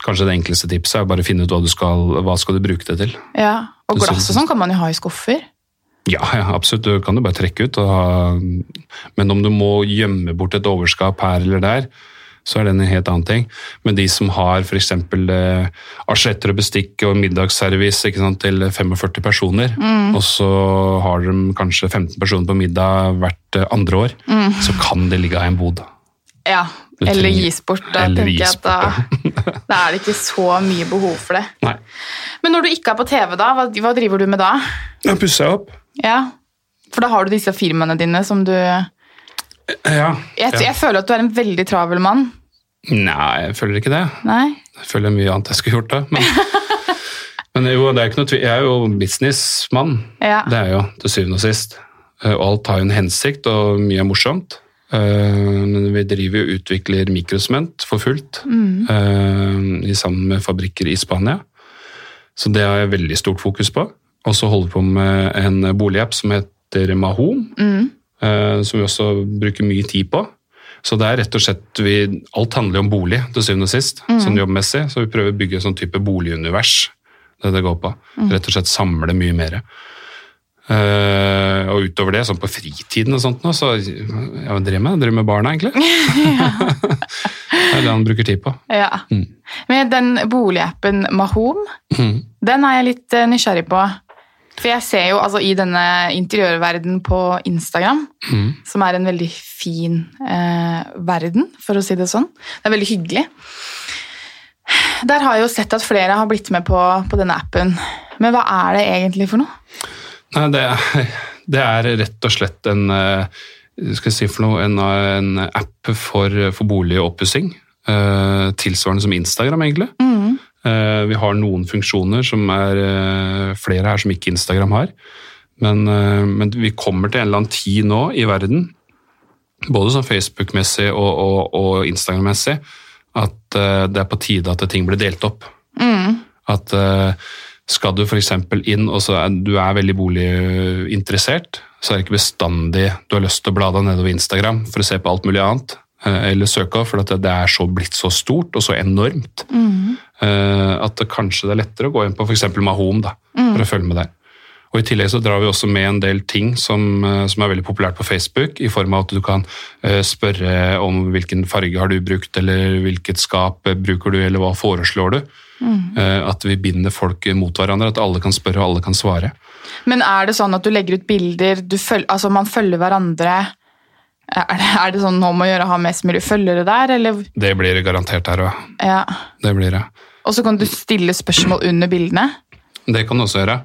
Kanskje det enkleste tipset er å bare finne ut hva du skal, hva skal du bruke det til. ja. Og Det ser glass og sånn kan man jo ha i skuffer. Ja, ja, absolutt. Du kan jo bare trekke ut. Og ha, men om du må gjemme bort et overskap her eller der, så er det en helt annen ting. Men de som har f.eks. Eh, asjetter og bestikk og middagsservice ikke sant, til 45 personer, og så har de kanskje 15 personer på middag hvert eh, andre år, så kan det ligge i en bod. Ja, Du Eller trenger- gis bort. Da eller tenker jeg gis at da, da er det ikke så mye behov for det. Nei. Men når du ikke er på TV, da, hva, hva driver du med da? Ja, pusser jeg opp. Ja, for da har du disse firmaene dine som du jeg, Ja. ja. jeg føler at du er en veldig travel mann. Nei, jeg føler ikke det. Nei? Jeg føler mye annet jeg skulle gjort da. Men, men jo, det er ikke noe tvil. Jeg er jo businessmann. Ja. Det er jeg jo til syvende og sist. Eh, Og alt har jo en hensikt, og mye er morsomt. Eh, Men vi driver jo og utvikler mikrosement for fullt, eh, i sammen med fabrikker i Spania. Så det har jeg veldig stort fokus på. Og så holder vi på med en boligapp som heter Mahom, eh, som vi også bruker mye tid på. Så det er rett og slett vi, Alt handler jo om bolig til syvende og sist, sånn jobbmessig. Så vi prøver å bygge et sånn type boligunivers. Det det går på. Rett og slett samle mye mer. Eh, og utover det, sånn på fritiden og sånt nå, så ja, hva driver jeg med? Jeg driver med barna, egentlig. det er det han bruker tid på. Ja. Men den boligappen Mahom, Mm. den er jeg litt eh, nysgjerrig på. For jeg ser jo altså, i denne interiørverdenen på Instagram, Mm. som er en veldig fin eh, verden, for å si det sånn. Det er veldig hyggelig. Der har jeg jo sett at flere har blitt med på, på denne appen. Men hva er det egentlig for noe? Nei, det er, det er rett og slett en eh, skal jeg si for noe, en, en app for, for bolig og oppussing. eh, tilsvarende som Instagram, egentlig. Eh, vi har noen funksjoner som er eh, flere her som ikke Instagram har. Men, eh, men vi kommer til en eller annen tid nå i verden, både sånn Facebook-messig og, og, og Instagram-messig, at eh, det er på tide at ting blir delt opp. At eh, skal du f.eks. inn og så er, du er veldig boliginteressert, så er det ikke bestandig du har lyst til å bla deg nedover Instagram for å se på alt mulig annet. eh, Eller søke opp, for at det- det er så blitt så stort og så enormt eh, at det kanskje det er lettere å gå inn på f.eks. Mahom da, for å følge med der. Og I tillegg så drar vi også med en del ting som, eh, som er veldig populært på Facebook, i form av at du kan eh, spørre om hvilken farge har du brukt, eller hvilket skap eh, bruker du, eller hva foreslår du. Eh, At vi binder folk mot hverandre, at alle kan spørre og alle kan svare. Men er det sånn at du legger ut bilder, du føl altså man følger hverandre Er det, er det sånn nå må gjøre å ha mest mulig følgere der, eller Det blir det garantert her òg. ja. Det blir det. Og så kan du stille spørsmål under bildene. Det kan du også gjøre.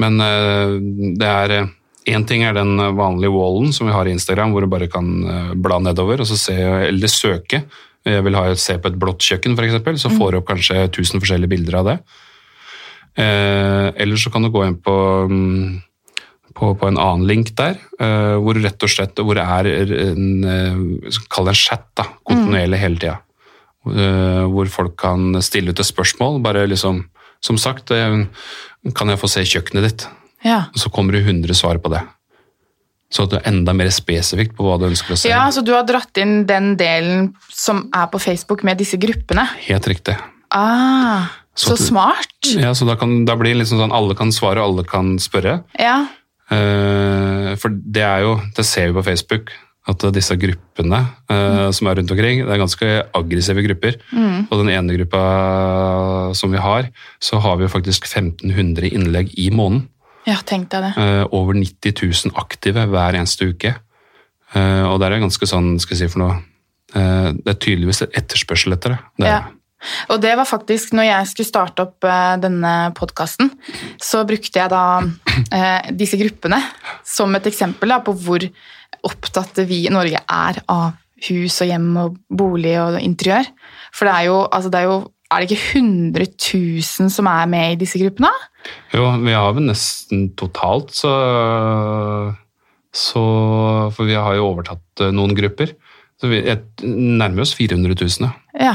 Men eh, det er Én ting er den vanlige wallen som vi har i Instagram, hvor du bare kan eh, bla nedover og så se, eller søke. Jeg vil ha, se på et blått kjøkken, f.eks., så får du opp kanskje 1000 forskjellige bilder av det. Eh, eller så kan du gå inn på, mm, på, på en annen link der, eh, hvor rett og slett hvor det er en, eh, Kall det en chat, da, kontinuerlig hele tida. Eh, hvor folk kan stille ut et spørsmål. bare liksom, Som sagt, eh, kan jeg få se kjøkkenet ditt? Ja. Og så kommer det 100 svar på det. Så at du er enda mer spesifikt på hva du ønsker å se. ja, så du har dratt inn den delen som er på Facebook med disse gruppene. Helt riktig. Ah, så Så du- smart. Ja, så da, kan, da blir det liksom sånn alle kan svare, og alle kan spørre. Ja. Eh, for det er jo, det ser vi på Facebook, at disse gruppene eh, som er rundt omkring, det er ganske aggressive grupper. Og den ene gruppa som vi har, så har vi jo faktisk 1500 innlegg i måneden. ja, tenk deg det. Eh, over 90 000 aktive hver eneste uke. Eh, og det er ganske sånn, skal jeg si for noe, eh, det er tydeligvis et etterspørsel etter det. det. Ja. er det. Og det var faktisk når jeg skulle starte opp eh, denne podkasten, så brukte jeg da eh, disse gruppene som et eksempel da, på hvor opptatt vi i Norge er av hus og hjem og bolig og interiør. For det er jo, altså det er jo er det ikke 100 000 som er med i disse gruppene? Jo, vi har vel nesten totalt, så, så For vi har jo overtatt eh, noen grupper. Så vi jeg nærmer oss 400 000, ja. Ja,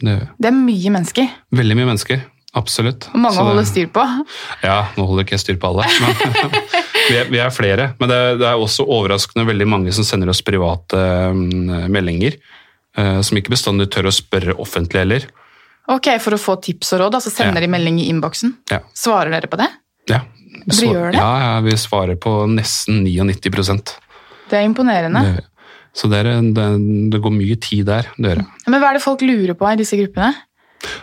Det er Det er mye mennesker, veldig mye mennesker. Absolutt. og mange Så å holde det- styr på. Ja, nå holder ikke jeg styr på alle. Men vi, er, vi er flere. Men det, er- det er også overraskende veldig mange som sender oss private mm, meldinger. eh, Som ikke bestandig tør å spørre offentlig heller. Ok, For å få tips og råd, da, så sender Ja. de melding i innboksen. Ja. Svarer dere på det? Ja. Dere Svar- gjør det? Ja, ja, vi svarer på nesten 99 Det er imponerende. Det- Så det, er, en- det, det går mye tid der. Det gjør det. Men hva er det folk lurer på i disse gruppene?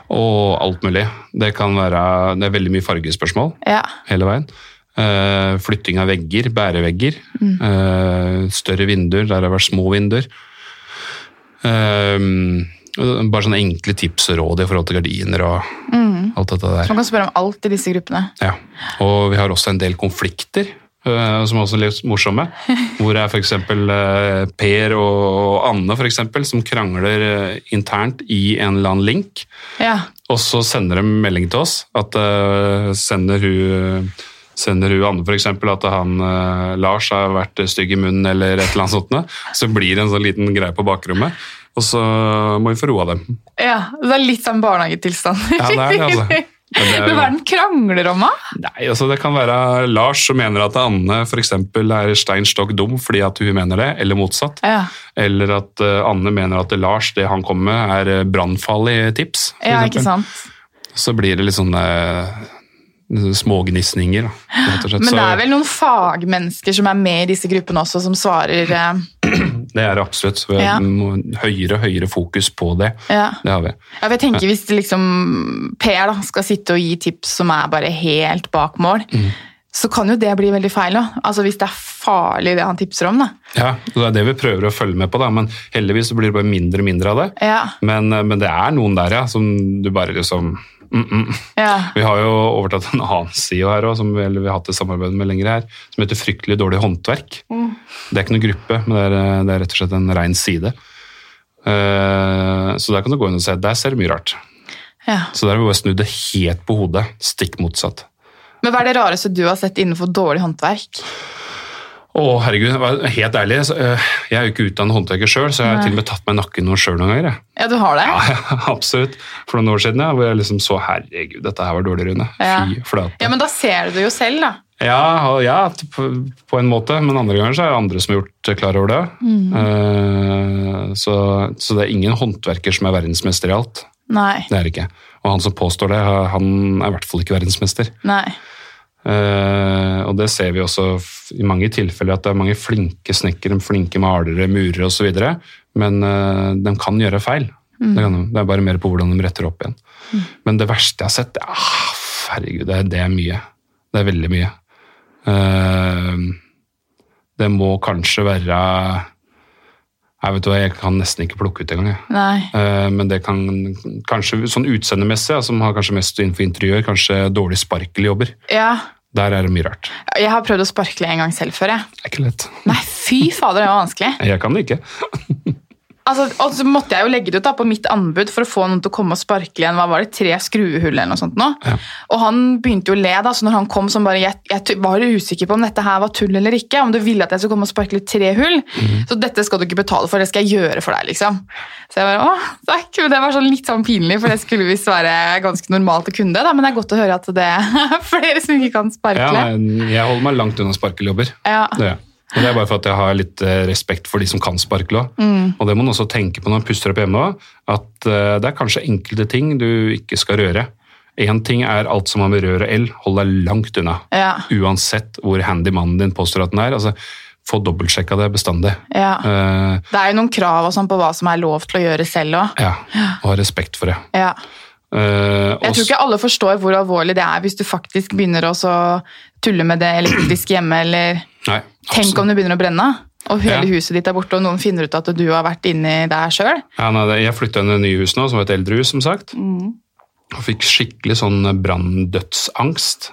Og alt mulig. Det kan være Det er veldig mye fargespørsmål. Ja. hele veien. Eh, flytting av vegger, bærevegger. Eh, større vinduer der det har vært små vinduer. Eh, og bare sånne enkle tips og råd i forhold til gardiner og alt dette der. Man kan spørre om alt i disse gruppene. Ja. Og vi har også en del konflikter. eh, Som er også litt morsomme. Hvor det er f.eks. Per og Anne for eksempel, som krangler eh, internt i en eller annen link. Ja, Og så sender de melding til oss at eh, sender hun Sender hun Anne for eksempel at han eh, Lars har vært stygg i munnen eller et eller annet sånt, noe, så blir det en sånn liten greie på bakrommet, og så må vi få roa dem. ja Det er litt sånn barnehagetilstand. Ja, det er det, altså. Men det er Men hva er den krangler om, da? Nei, altså Det kan være Lars som mener at Anne for eksempel er stein stokk dum fordi at hun mener det, eller motsatt. Ja. Eller at eh, Anne mener at Lars, det han kommer med, er eh, brannfarlige tips. for ja, eksempel. ikke sant. Så blir det litt sånne eh, smågnisninger, da, rett og slett. Men det Så- er vel noen fagmennesker som er med i disse gruppene også, som svarer eh, Det er det absolutt. Så vi Ja. har må- høyere og høyere fokus på det. Ja. Det har vi. Ja, for jeg tenker Hvis liksom Per da, skal sitte og gi tips som er bare helt bak mål, Mm. så kan jo det bli veldig feil òg. Altså, hvis det er farlig, det han tipser om. da. Ja, så Det er det vi prøver å følge med på, da. men heldigvis så blir det bare mindre og mindre av det. Ja, Men, eh, men det er noen der, ja, som du bare liksom mm -mm. ja. Vi har jo overtatt en annen SIO her òg, som vi, eller vi har hatt et samarbeid med lenger her, som heter Fryktelig dårlig håndverk. Det er ikke noen gruppe, men det er, eh, det er rett og slett en rein side. Eh, så der kan du gå inn og se. Der ser du mye rart. ja. Så der har vi bare snudd det helt på hodet. Stikk motsatt. Men hva er det rareste du har sett innenfor dårlig håndverk? Å, herregud, vær helt ærlig. så, øh, Jeg er jo ikke utdannet håndverker sjøl, så jeg har til og med tatt meg i nakken noe sjøl noen ganger. jeg. Ja, du har det? Absolutt. For noen år siden, ja, hvor jeg liksom så herregud, dette her var dårlig, Rune. Ja. Fy flate. Ja, men da ser du det jo selv, da. Ja, og ja t- på, på en måte, men andre ganger så er det andre som har gjort eh, klar over det. Mm. Eh, så, så det er ingen håndverker som er verdensmester i alt. Nei. Det er det ikke. Og han som påstår det, han er i hvert fall ikke verdensmester. Nei. Eh, og det ser vi også f- i mange tilfeller, at det er mange flinke snekkere, flinke malere, murere osv. Men eh, de kan gjøre feil. Mm. Det, kan, de. det er bare mer på hvordan de retter opp igjen. Men det verste jeg har sett, det er- ah, herregud, det er, det er mye. Det er veldig mye. Eh, det må kanskje være Jeg vet du hva, jeg kan nesten ikke plukke ut engang. jeg. Nei. Eh, Men det kan kanskje, sånn utseendemessig, ja, som har kanskje mest innenfor interiør, kanskje dårlig sparkeljobber. Ja. Der er det mye rart. Jeg har prøvd å sparkle en gang selv før, jeg. Det er ikke lett. Nei, fy fader, det var vanskelig. Jeg kan det ikke. Altså, og så måtte jeg jo legge det ut da, på mitt anbud for å få noen til å komme og sparkle igjen. Hva var det? Tre skruehull eller noe sånt nå. Og han begynte jo å le da, så når han kom så bare, jeg, jeg t- var usikker på om dette her var tull eller ikke, om du ville at jeg skulle komme og sparkle tre hull. Så dette skal du ikke betale for, det skal jeg gjøre for deg, liksom. Så jeg bare, åh, takk. Men Det var sånn litt sånn pinlig, for det skulle visst være ganske normalt å kunne det da, men det er godt å høre at det er flere som ikke kan Ja, sparkle. nei, jeg holder meg langt unna sparkeljobber. Ja, Det gjør jeg. Og det er bare for at jeg har litt eh, respekt for de som kan sparkle òg. Mm. Og det må man også tenke på når man puster opp hjemme òg, at eh, det er kanskje enkelte ting du ikke skal røre. Én ting er alt som har med rør og el, hold deg langt unna. ja, Uansett hvor handy mannen din påstår at den er. altså Få dobbeltsjekka det bestandig. ja. Eh, Det er jo noen krav og sånn på hva som er lov til å gjøre selv også. ja, og ha respekt for det. Ja. Eh, Jeg tror også- ikke alle forstår hvor alvorlig det er hvis du faktisk begynner å så tulle med det elektriske hjemme, eller Nei, tenk absolutt. om det begynner å brenne, og hele Ja. huset ditt er borte, og noen finner ut at du har vært inni der sjøl. Ja, nei, det- jeg flytta inn i det nye hus nå, som var et eldre hus, som sagt. Og fikk skikkelig sånn branndødsangst.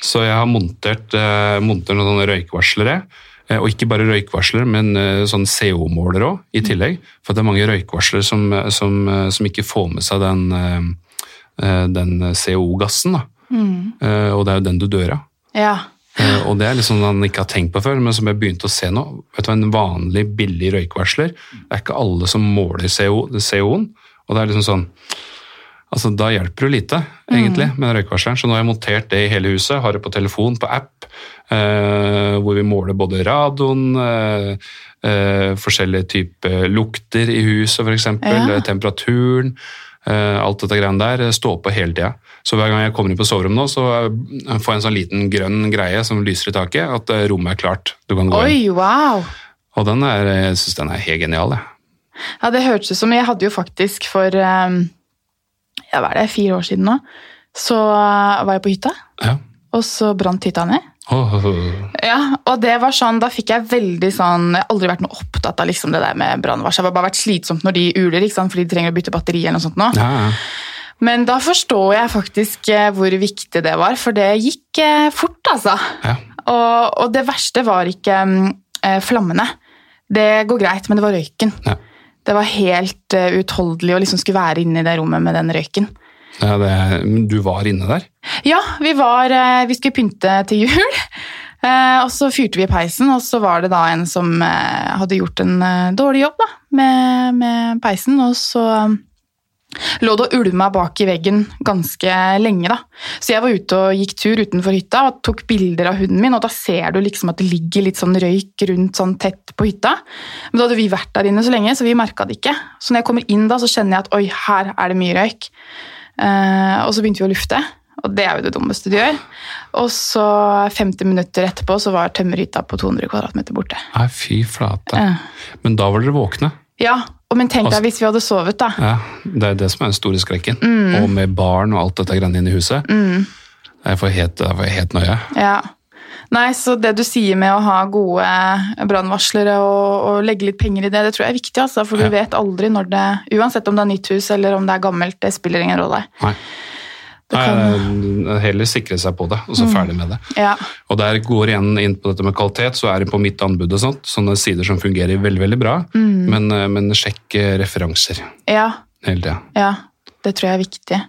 Så jeg har montert, eh, montert noen sånne røykvarslere. Eh, Og ikke bare røykvarsler, men eh, sånn CO-måler òg, i tillegg. For det er mange røykvarslere som, eh, som, eh, som ikke får med seg den, eh, eh, den CO-gassen. da. Eh, Og det er jo den du dør av. Ja. Eh, Og det er liksom noe han ikke har tenkt på før, men som jeg begynte å se nå. Vet du, hva, En vanlig, billig røykvarsler. Det er ikke alle som måler CO CO-en. Og det er liksom sånn Altså, da hjelper det jo lite, egentlig, med røykvarsleren. Så nå har jeg montert det i hele huset. Har det på telefon, på app, eh, hvor vi måler både radioen, eh, eh, forskjellige typer lukter i huset, f.eks., Ja. eh, temperaturen. eh, alt dette greiene der eh, står på hele tida. Så hver gang jeg kommer inn på soverommet nå, så eh, får jeg en sånn liten grønn greie som lyser i taket, at eh, rommet er klart. Du kan gå Oi, inn. wow! Og den er, eh, jeg syns den er helt genial, jeg. Ja, det hørtes ut som Jeg hadde jo faktisk for ehm, ja, hva er det, fire år siden nå, så eh, var jeg på hytta, Ja. og så brant hytta ned. Åh, åh, åh. Ja, og det var sånn, da fikk jeg veldig sånn Jeg har aldri vært noe opptatt av liksom det der med brannvarsel. Det har bare vært slitsomt når de uler, ikke sant? fordi de trenger å bytte batteri eller noe sånt nå. Ja, ja. Men da forstår jeg faktisk eh, hvor viktig det var, for det gikk eh, fort, altså. Ja. Og, og det verste var ikke mm, eh, flammene. Det går greit, men det var røyken. Ja. Det var helt eh, uutholdelig å liksom skulle være inne i det rommet med den røyken. Ja, det, er- men du var inne der? Ja, vi, var, eh, vi skulle pynte til jul. Eh, Og så fyrte vi i peisen, og så var det da en som eh, hadde gjort en eh, dårlig jobb da, med, med peisen. Og så eh, lå det og ulma bak i veggen ganske lenge. da. Så jeg var ute og gikk tur utenfor hytta og tok bilder av hunden min. Og da ser du liksom at det ligger litt sånn røyk rundt sånn tett på hytta. Men da hadde vi vært der inne så lenge, så vi merka det ikke. Så når jeg kommer inn da, så kjenner jeg at oi, her er det mye røyk. Eh, og så begynte vi å lufte, og det er jo det dummeste du gjør. Og så 50 minutter etterpå så var tømmerhytta på 200 kvadratmeter borte. Nei, fy flate. Ja. Men da var dere våkne. Ja, og men tenk Altså- deg hvis vi hadde sovet, da. Ja, det er det som er den store skrekken. Mm. Og med barn og alt dette greiene inne i huset. Jeg får helt, jeg får helt nøye. Ja. Nei, så det du sier med å ha gode brannvarslere og, og legge litt penger i det, det tror jeg er viktig, altså, for du Ja. vet aldri når det Uansett om det er nytt hus eller om det er gammelt, det spiller ingen rolle. Nei. Nei, Heller sikre seg på det, og så Mm. ferdig med det. Ja. Og der går igjen inn på dette med kvalitet, så er det på mitt anbud og sånt, sånne sider som fungerer veldig, veldig bra, Mm. men, eh, men sjekk eh, referanser Ja. hele tida. Ja. Det tror jeg er viktig.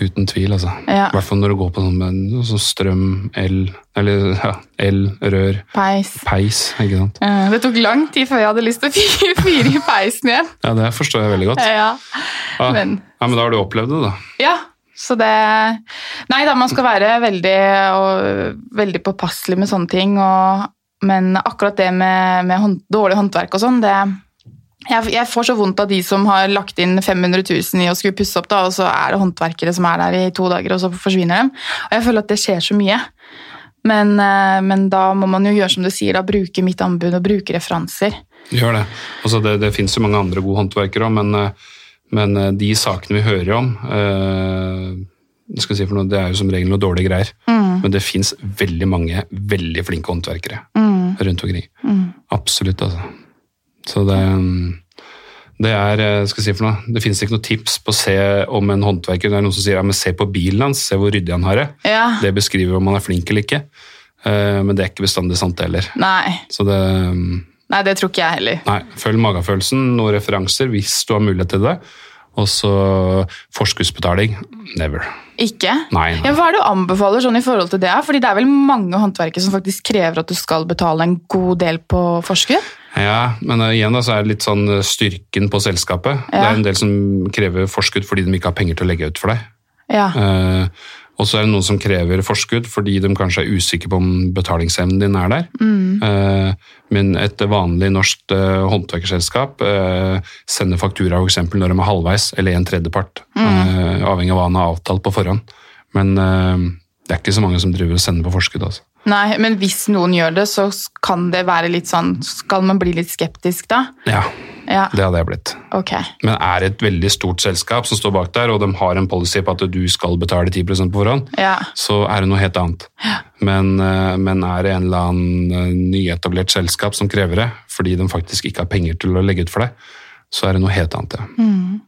Uten tvil, altså. Ja. I hvert fall når du går på sånn med noe sånn strøm, el, eller ja, el, rør, Peis. peis, ikke sant. Eh, Det tok lang tid før jeg hadde lyst til å fyre- fyre i peisen igjen. Ja, det forstår jeg veldig godt. Ja. Ja, men- ja, men da har du opplevd det, da. ja, så det Nei da, man skal være veldig, og, veldig påpasselig med sånne ting. Og, men akkurat det med, med hånd, dårlig håndverk og sånn, det jeg, jeg får så vondt av de som har lagt inn 500 000 i å skulle pusse opp, da, og så er det håndverkere som er der i to dager, og så forsvinner dem. Og jeg føler at det skjer så mye. Men, eh, men da må man jo gjøre som du sier, da, bruke mitt anbud og bruke referanser. Gjør det. Altså det, det finnes jo mange andre gode håndverkere òg, men, eh, men eh, de sakene vi hører om eh, hva skal jeg si for noe, Det er jo som regel noe dårlige greier. Men det fins veldig mange veldig flinke håndverkere rundt omkring. Absolutt, altså. Så det, det er eh, skal jeg si for noe, det finnes ikke noe tips på å se om en håndverker Det er noen som sier ja, men se på bilen hans, se hvor ryddig han har det. Ja. Det beskriver om han er flink eller ikke. Eh, Men det er ikke bestandig sant, det heller. Nei. Så det mm, Nei, det tror ikke jeg heller. Nei, følg magefølelsen, noen referanser hvis du har mulighet til det. Og så forskuddsbetaling. Never. Ikke? Nei, nei. Ja, hva er det du anbefaler sånn i forhold til det? Fordi det er vel mange håndverkere som faktisk krever at du skal betale en god del på forskudd? Ja, men eh, igjen da, så er det litt sånn eh, styrken på selskapet. Det Ja. er en del som krever forskudd fordi de ikke har penger til å legge ut for deg. Ja. Eh, og så er det noen som krever forskudd fordi de kanskje er usikre på om betalingsevnen din er der. Eh, men et vanlig norsk eh, håndverkerselskap eh, sender faktura for eksempel når de er halvveis eller en tredjepart, eh, avhengig av hva han har avtalt på forhånd. Men eh, det er ikke så mange som driver og sender på forskudd. altså. Nei, men hvis noen gjør det, så kan det være litt sånn Skal man bli litt skeptisk da? Ja, Ja, det hadde jeg blitt. ok. men er et veldig stort selskap som står bak der, og de har en policy på at du skal betale 10 på forhånd, Ja. så er det noe helt annet. Men, eh, men er det en eller annen eh, nyetablert selskap som krever det, fordi de faktisk ikke har penger til å legge ut for det, så er det noe helt annet. Ja.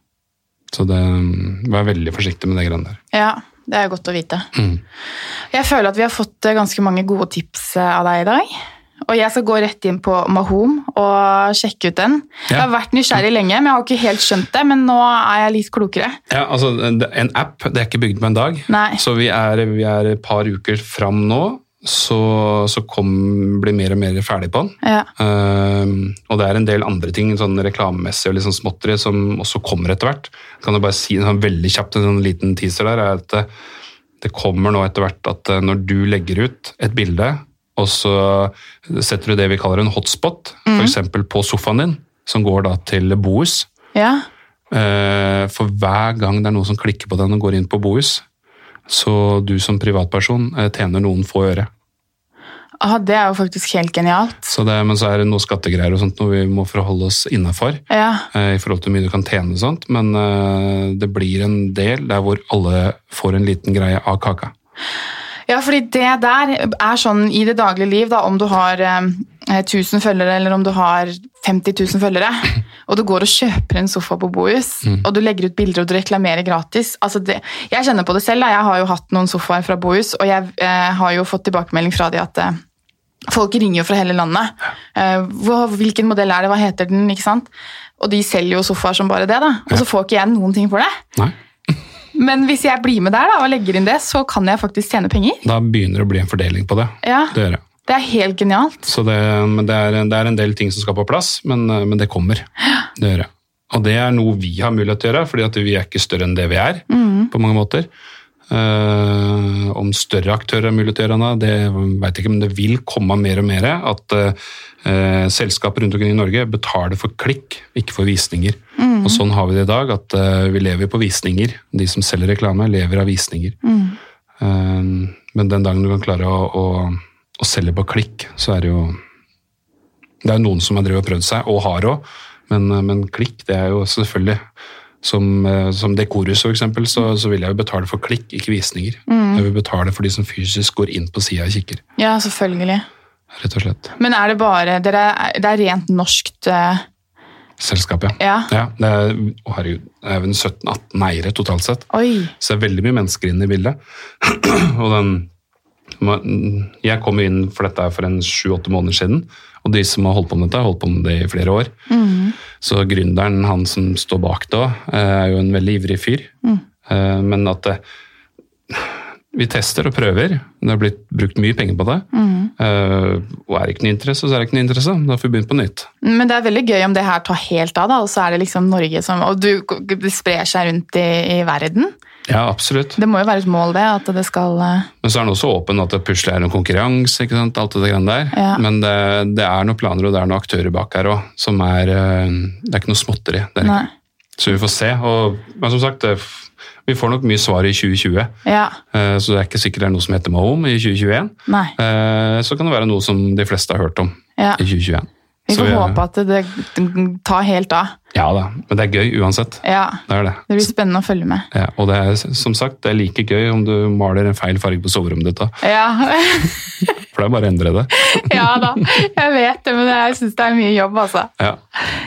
Så det, mm, vær veldig forsiktig med det greiene der. ja. Det er godt å vite. Mm. Jeg føler at vi har fått eh, ganske mange gode tips eh, av deg i dag. Og jeg skal gå rett inn på Mahom og sjekke ut den. Jeg Ja. har vært nysgjerrig lenge, men jeg har ikke helt skjønt det. Men nå er jeg litt klokere. Ja, altså, en app, det er ikke bygd på en dag. Nei. Så vi er, vi er et par uker fram nå, så, så kom, blir mer og mer ferdig på den. Ja. Ehm, og det er en del andre ting, sånn reklamemessig og litt sånn småtteri, som også kommer etter hvert. Kan jeg bare si en sånn veldig kjapt en sånn liten teaser der, er at eh, det kommer nå etter hvert at eh, når du legger ut et bilde, og så setter du det vi kaller en hotspot, for eksempel på sofaen din, som går da til Bohus. ja. Eh, For hver gang det er noen som klikker på den og går inn på Bohus, så du som privatperson eh, tjener noen få øre. Ah, det er jo faktisk helt genialt. Så det, men så er det noen skattegreier og sånt noe vi må forholde oss innafor. Ja. eh, I forhold til hvor mye du kan tjene og sånt, men eh, det blir en del der hvor alle får en liten greie av kaka. Ja, fordi det der er sånn i det daglige liv, da, om du har eh, 1000 følgere eller om du har 50 000 følgere, og du går og kjøper en sofa på Bohus, og du legger ut bilder og du reklamerer gratis. Altså det, jeg kjenner på det selv, da. jeg har jo hatt noen sofaer fra Bohus, og jeg eh, har jo fått tilbakemelding fra de at eh, Folk ringer jo fra hele landet. Eh, hva- hvilken modell er det, hva heter den? ikke sant? Og de selger jo sofaer som bare det, da. Og så får ikke jeg noen ting for det. Nei, Men hvis jeg blir med der da, og legger inn det, så kan jeg faktisk tjene penger. da begynner det å bli en fordeling på det. Ja. Det gjør det. Det er helt genialt. Så det, men det, er, det er en del ting som skal på plass, men, eh, men det kommer. Det gjør det. Og det er noe vi har mulighet til å gjøre, fordi at vi er ikke større enn det vi er. på mange måter. Eh, om større aktører er mulig til å gjøre noe, det vet jeg ikke, men det vil komme mer og mer at eh, eh, selskaper rundt omkring i Norge betaler for klikk, ikke for visninger. Og sånn har vi det i dag, at eh, vi lever på visninger. De som selger reklame, lever av visninger. Eh, men den dagen du kan klare å, å, å selge på klikk, så er det jo Det er jo noen som har drevet og prøvd seg, og har òg, men, eh, men klikk, det er jo selvfølgelig Som, eh, som dekorhus, for eksempel, så, så vil jeg jo betale for klikk, ikke visninger. Jeg vil betale for de som fysisk går inn på sida og kikker, Ja, selvfølgelig. rett og slett. Men er det bare dere, Det er rent norskt eh, Selskapet, Ja. ja det er, å herregud, det er vel 17-18 eiere totalt sett. Oi. Så det er veldig mye mennesker inne i bildet. og den, man- jeg kom jo inn for dette her for en sju-åtte måneder siden, og de som har holdt på med dette, har holdt på med det i flere år. Så gründeren, han som står bak det òg, er jo en veldig ivrig fyr. Eh, Men at det, vi tester og prøver. Det har blitt brukt mye penger på det. Eh, Og er det ikke noe interesse, så er det ikke noe interesse. Da får vi begynne på nytt. Men det er veldig gøy om det her tar helt av, da, og så er det liksom Norge som Og du, det sprer seg rundt i, i verden. Ja, absolutt. Det må jo være et mål, det, at det skal eh, Men så er den også åpen at det plutselig er noen konkurranse, ikke sant? alt det greiene der. Ja. Men det, det er noen planer og det er noen aktører bak her òg, som er eh, Det er ikke noe småtteri. Det er Nei. ikke. Så vi får se. Og, men som sagt, det, vi får nok mye svar i 2020. Ja. eh, Så det er ikke sikkert det er noe som heter Mahom i 2021. Nei. Eh, Så kan det være noe som de fleste har hørt om Ja. i 2021. Vi Så får håpe at det, det tar helt av. Ja da, men det er gøy uansett. Ja. Det er det. Det blir spennende å følge med. Ja, og det er som sagt, det er like gøy om du maler en feil farge på soverommet ditt. da. Ja. For det er bare å endre det. Ja da, jeg vet det, men jeg syns det er mye jobb, altså. Ja.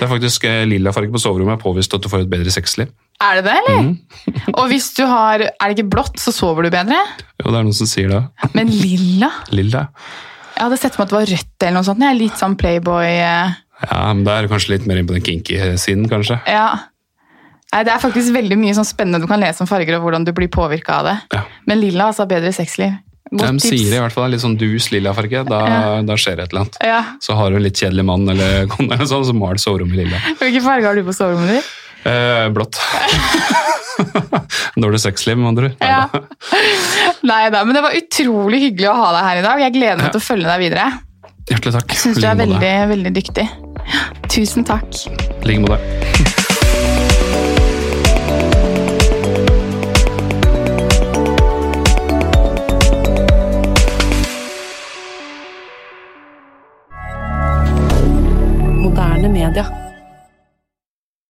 Det er faktisk eh, lilla farge på soverommet er påvist at du får et bedre sexliv. Er det det, eller? Mhm. Og hvis du har Er det ikke blått, så sover du bedre? Jo, det er noen som sier det. Men lilla? Lilla. Jeg hadde sett for meg at det var rødt eller noe sånt. Jeg er litt sånn playboy eh, Ja, men det er kanskje litt mer inn på den kinky siden, kanskje. Ja. Nei, det er faktisk veldig mye sånn spennende du kan lese om farger og hvordan du blir påvirka av det. Ja. Men lilla altså bedre sexliv. De Godt sier det tips. i hvert fall. Litt sånn dus lilla farge, da, da skjer det et eller annet. Ja. Så har du en litt kjedelig mann eller kone, eller sånn, så mal soverommet lilla. Hvilken farge har du på soverommet ditt? Eh, blått. Dårlig sexliv, med andre ord. Ja. Neida. Nei da, men det var utrolig hyggelig å ha deg her i dag. Jeg gleder meg til å følge deg videre. Hjertelig takk. Syns du Like er måte. veldig, veldig dyktig. Tusen takk. Like måte.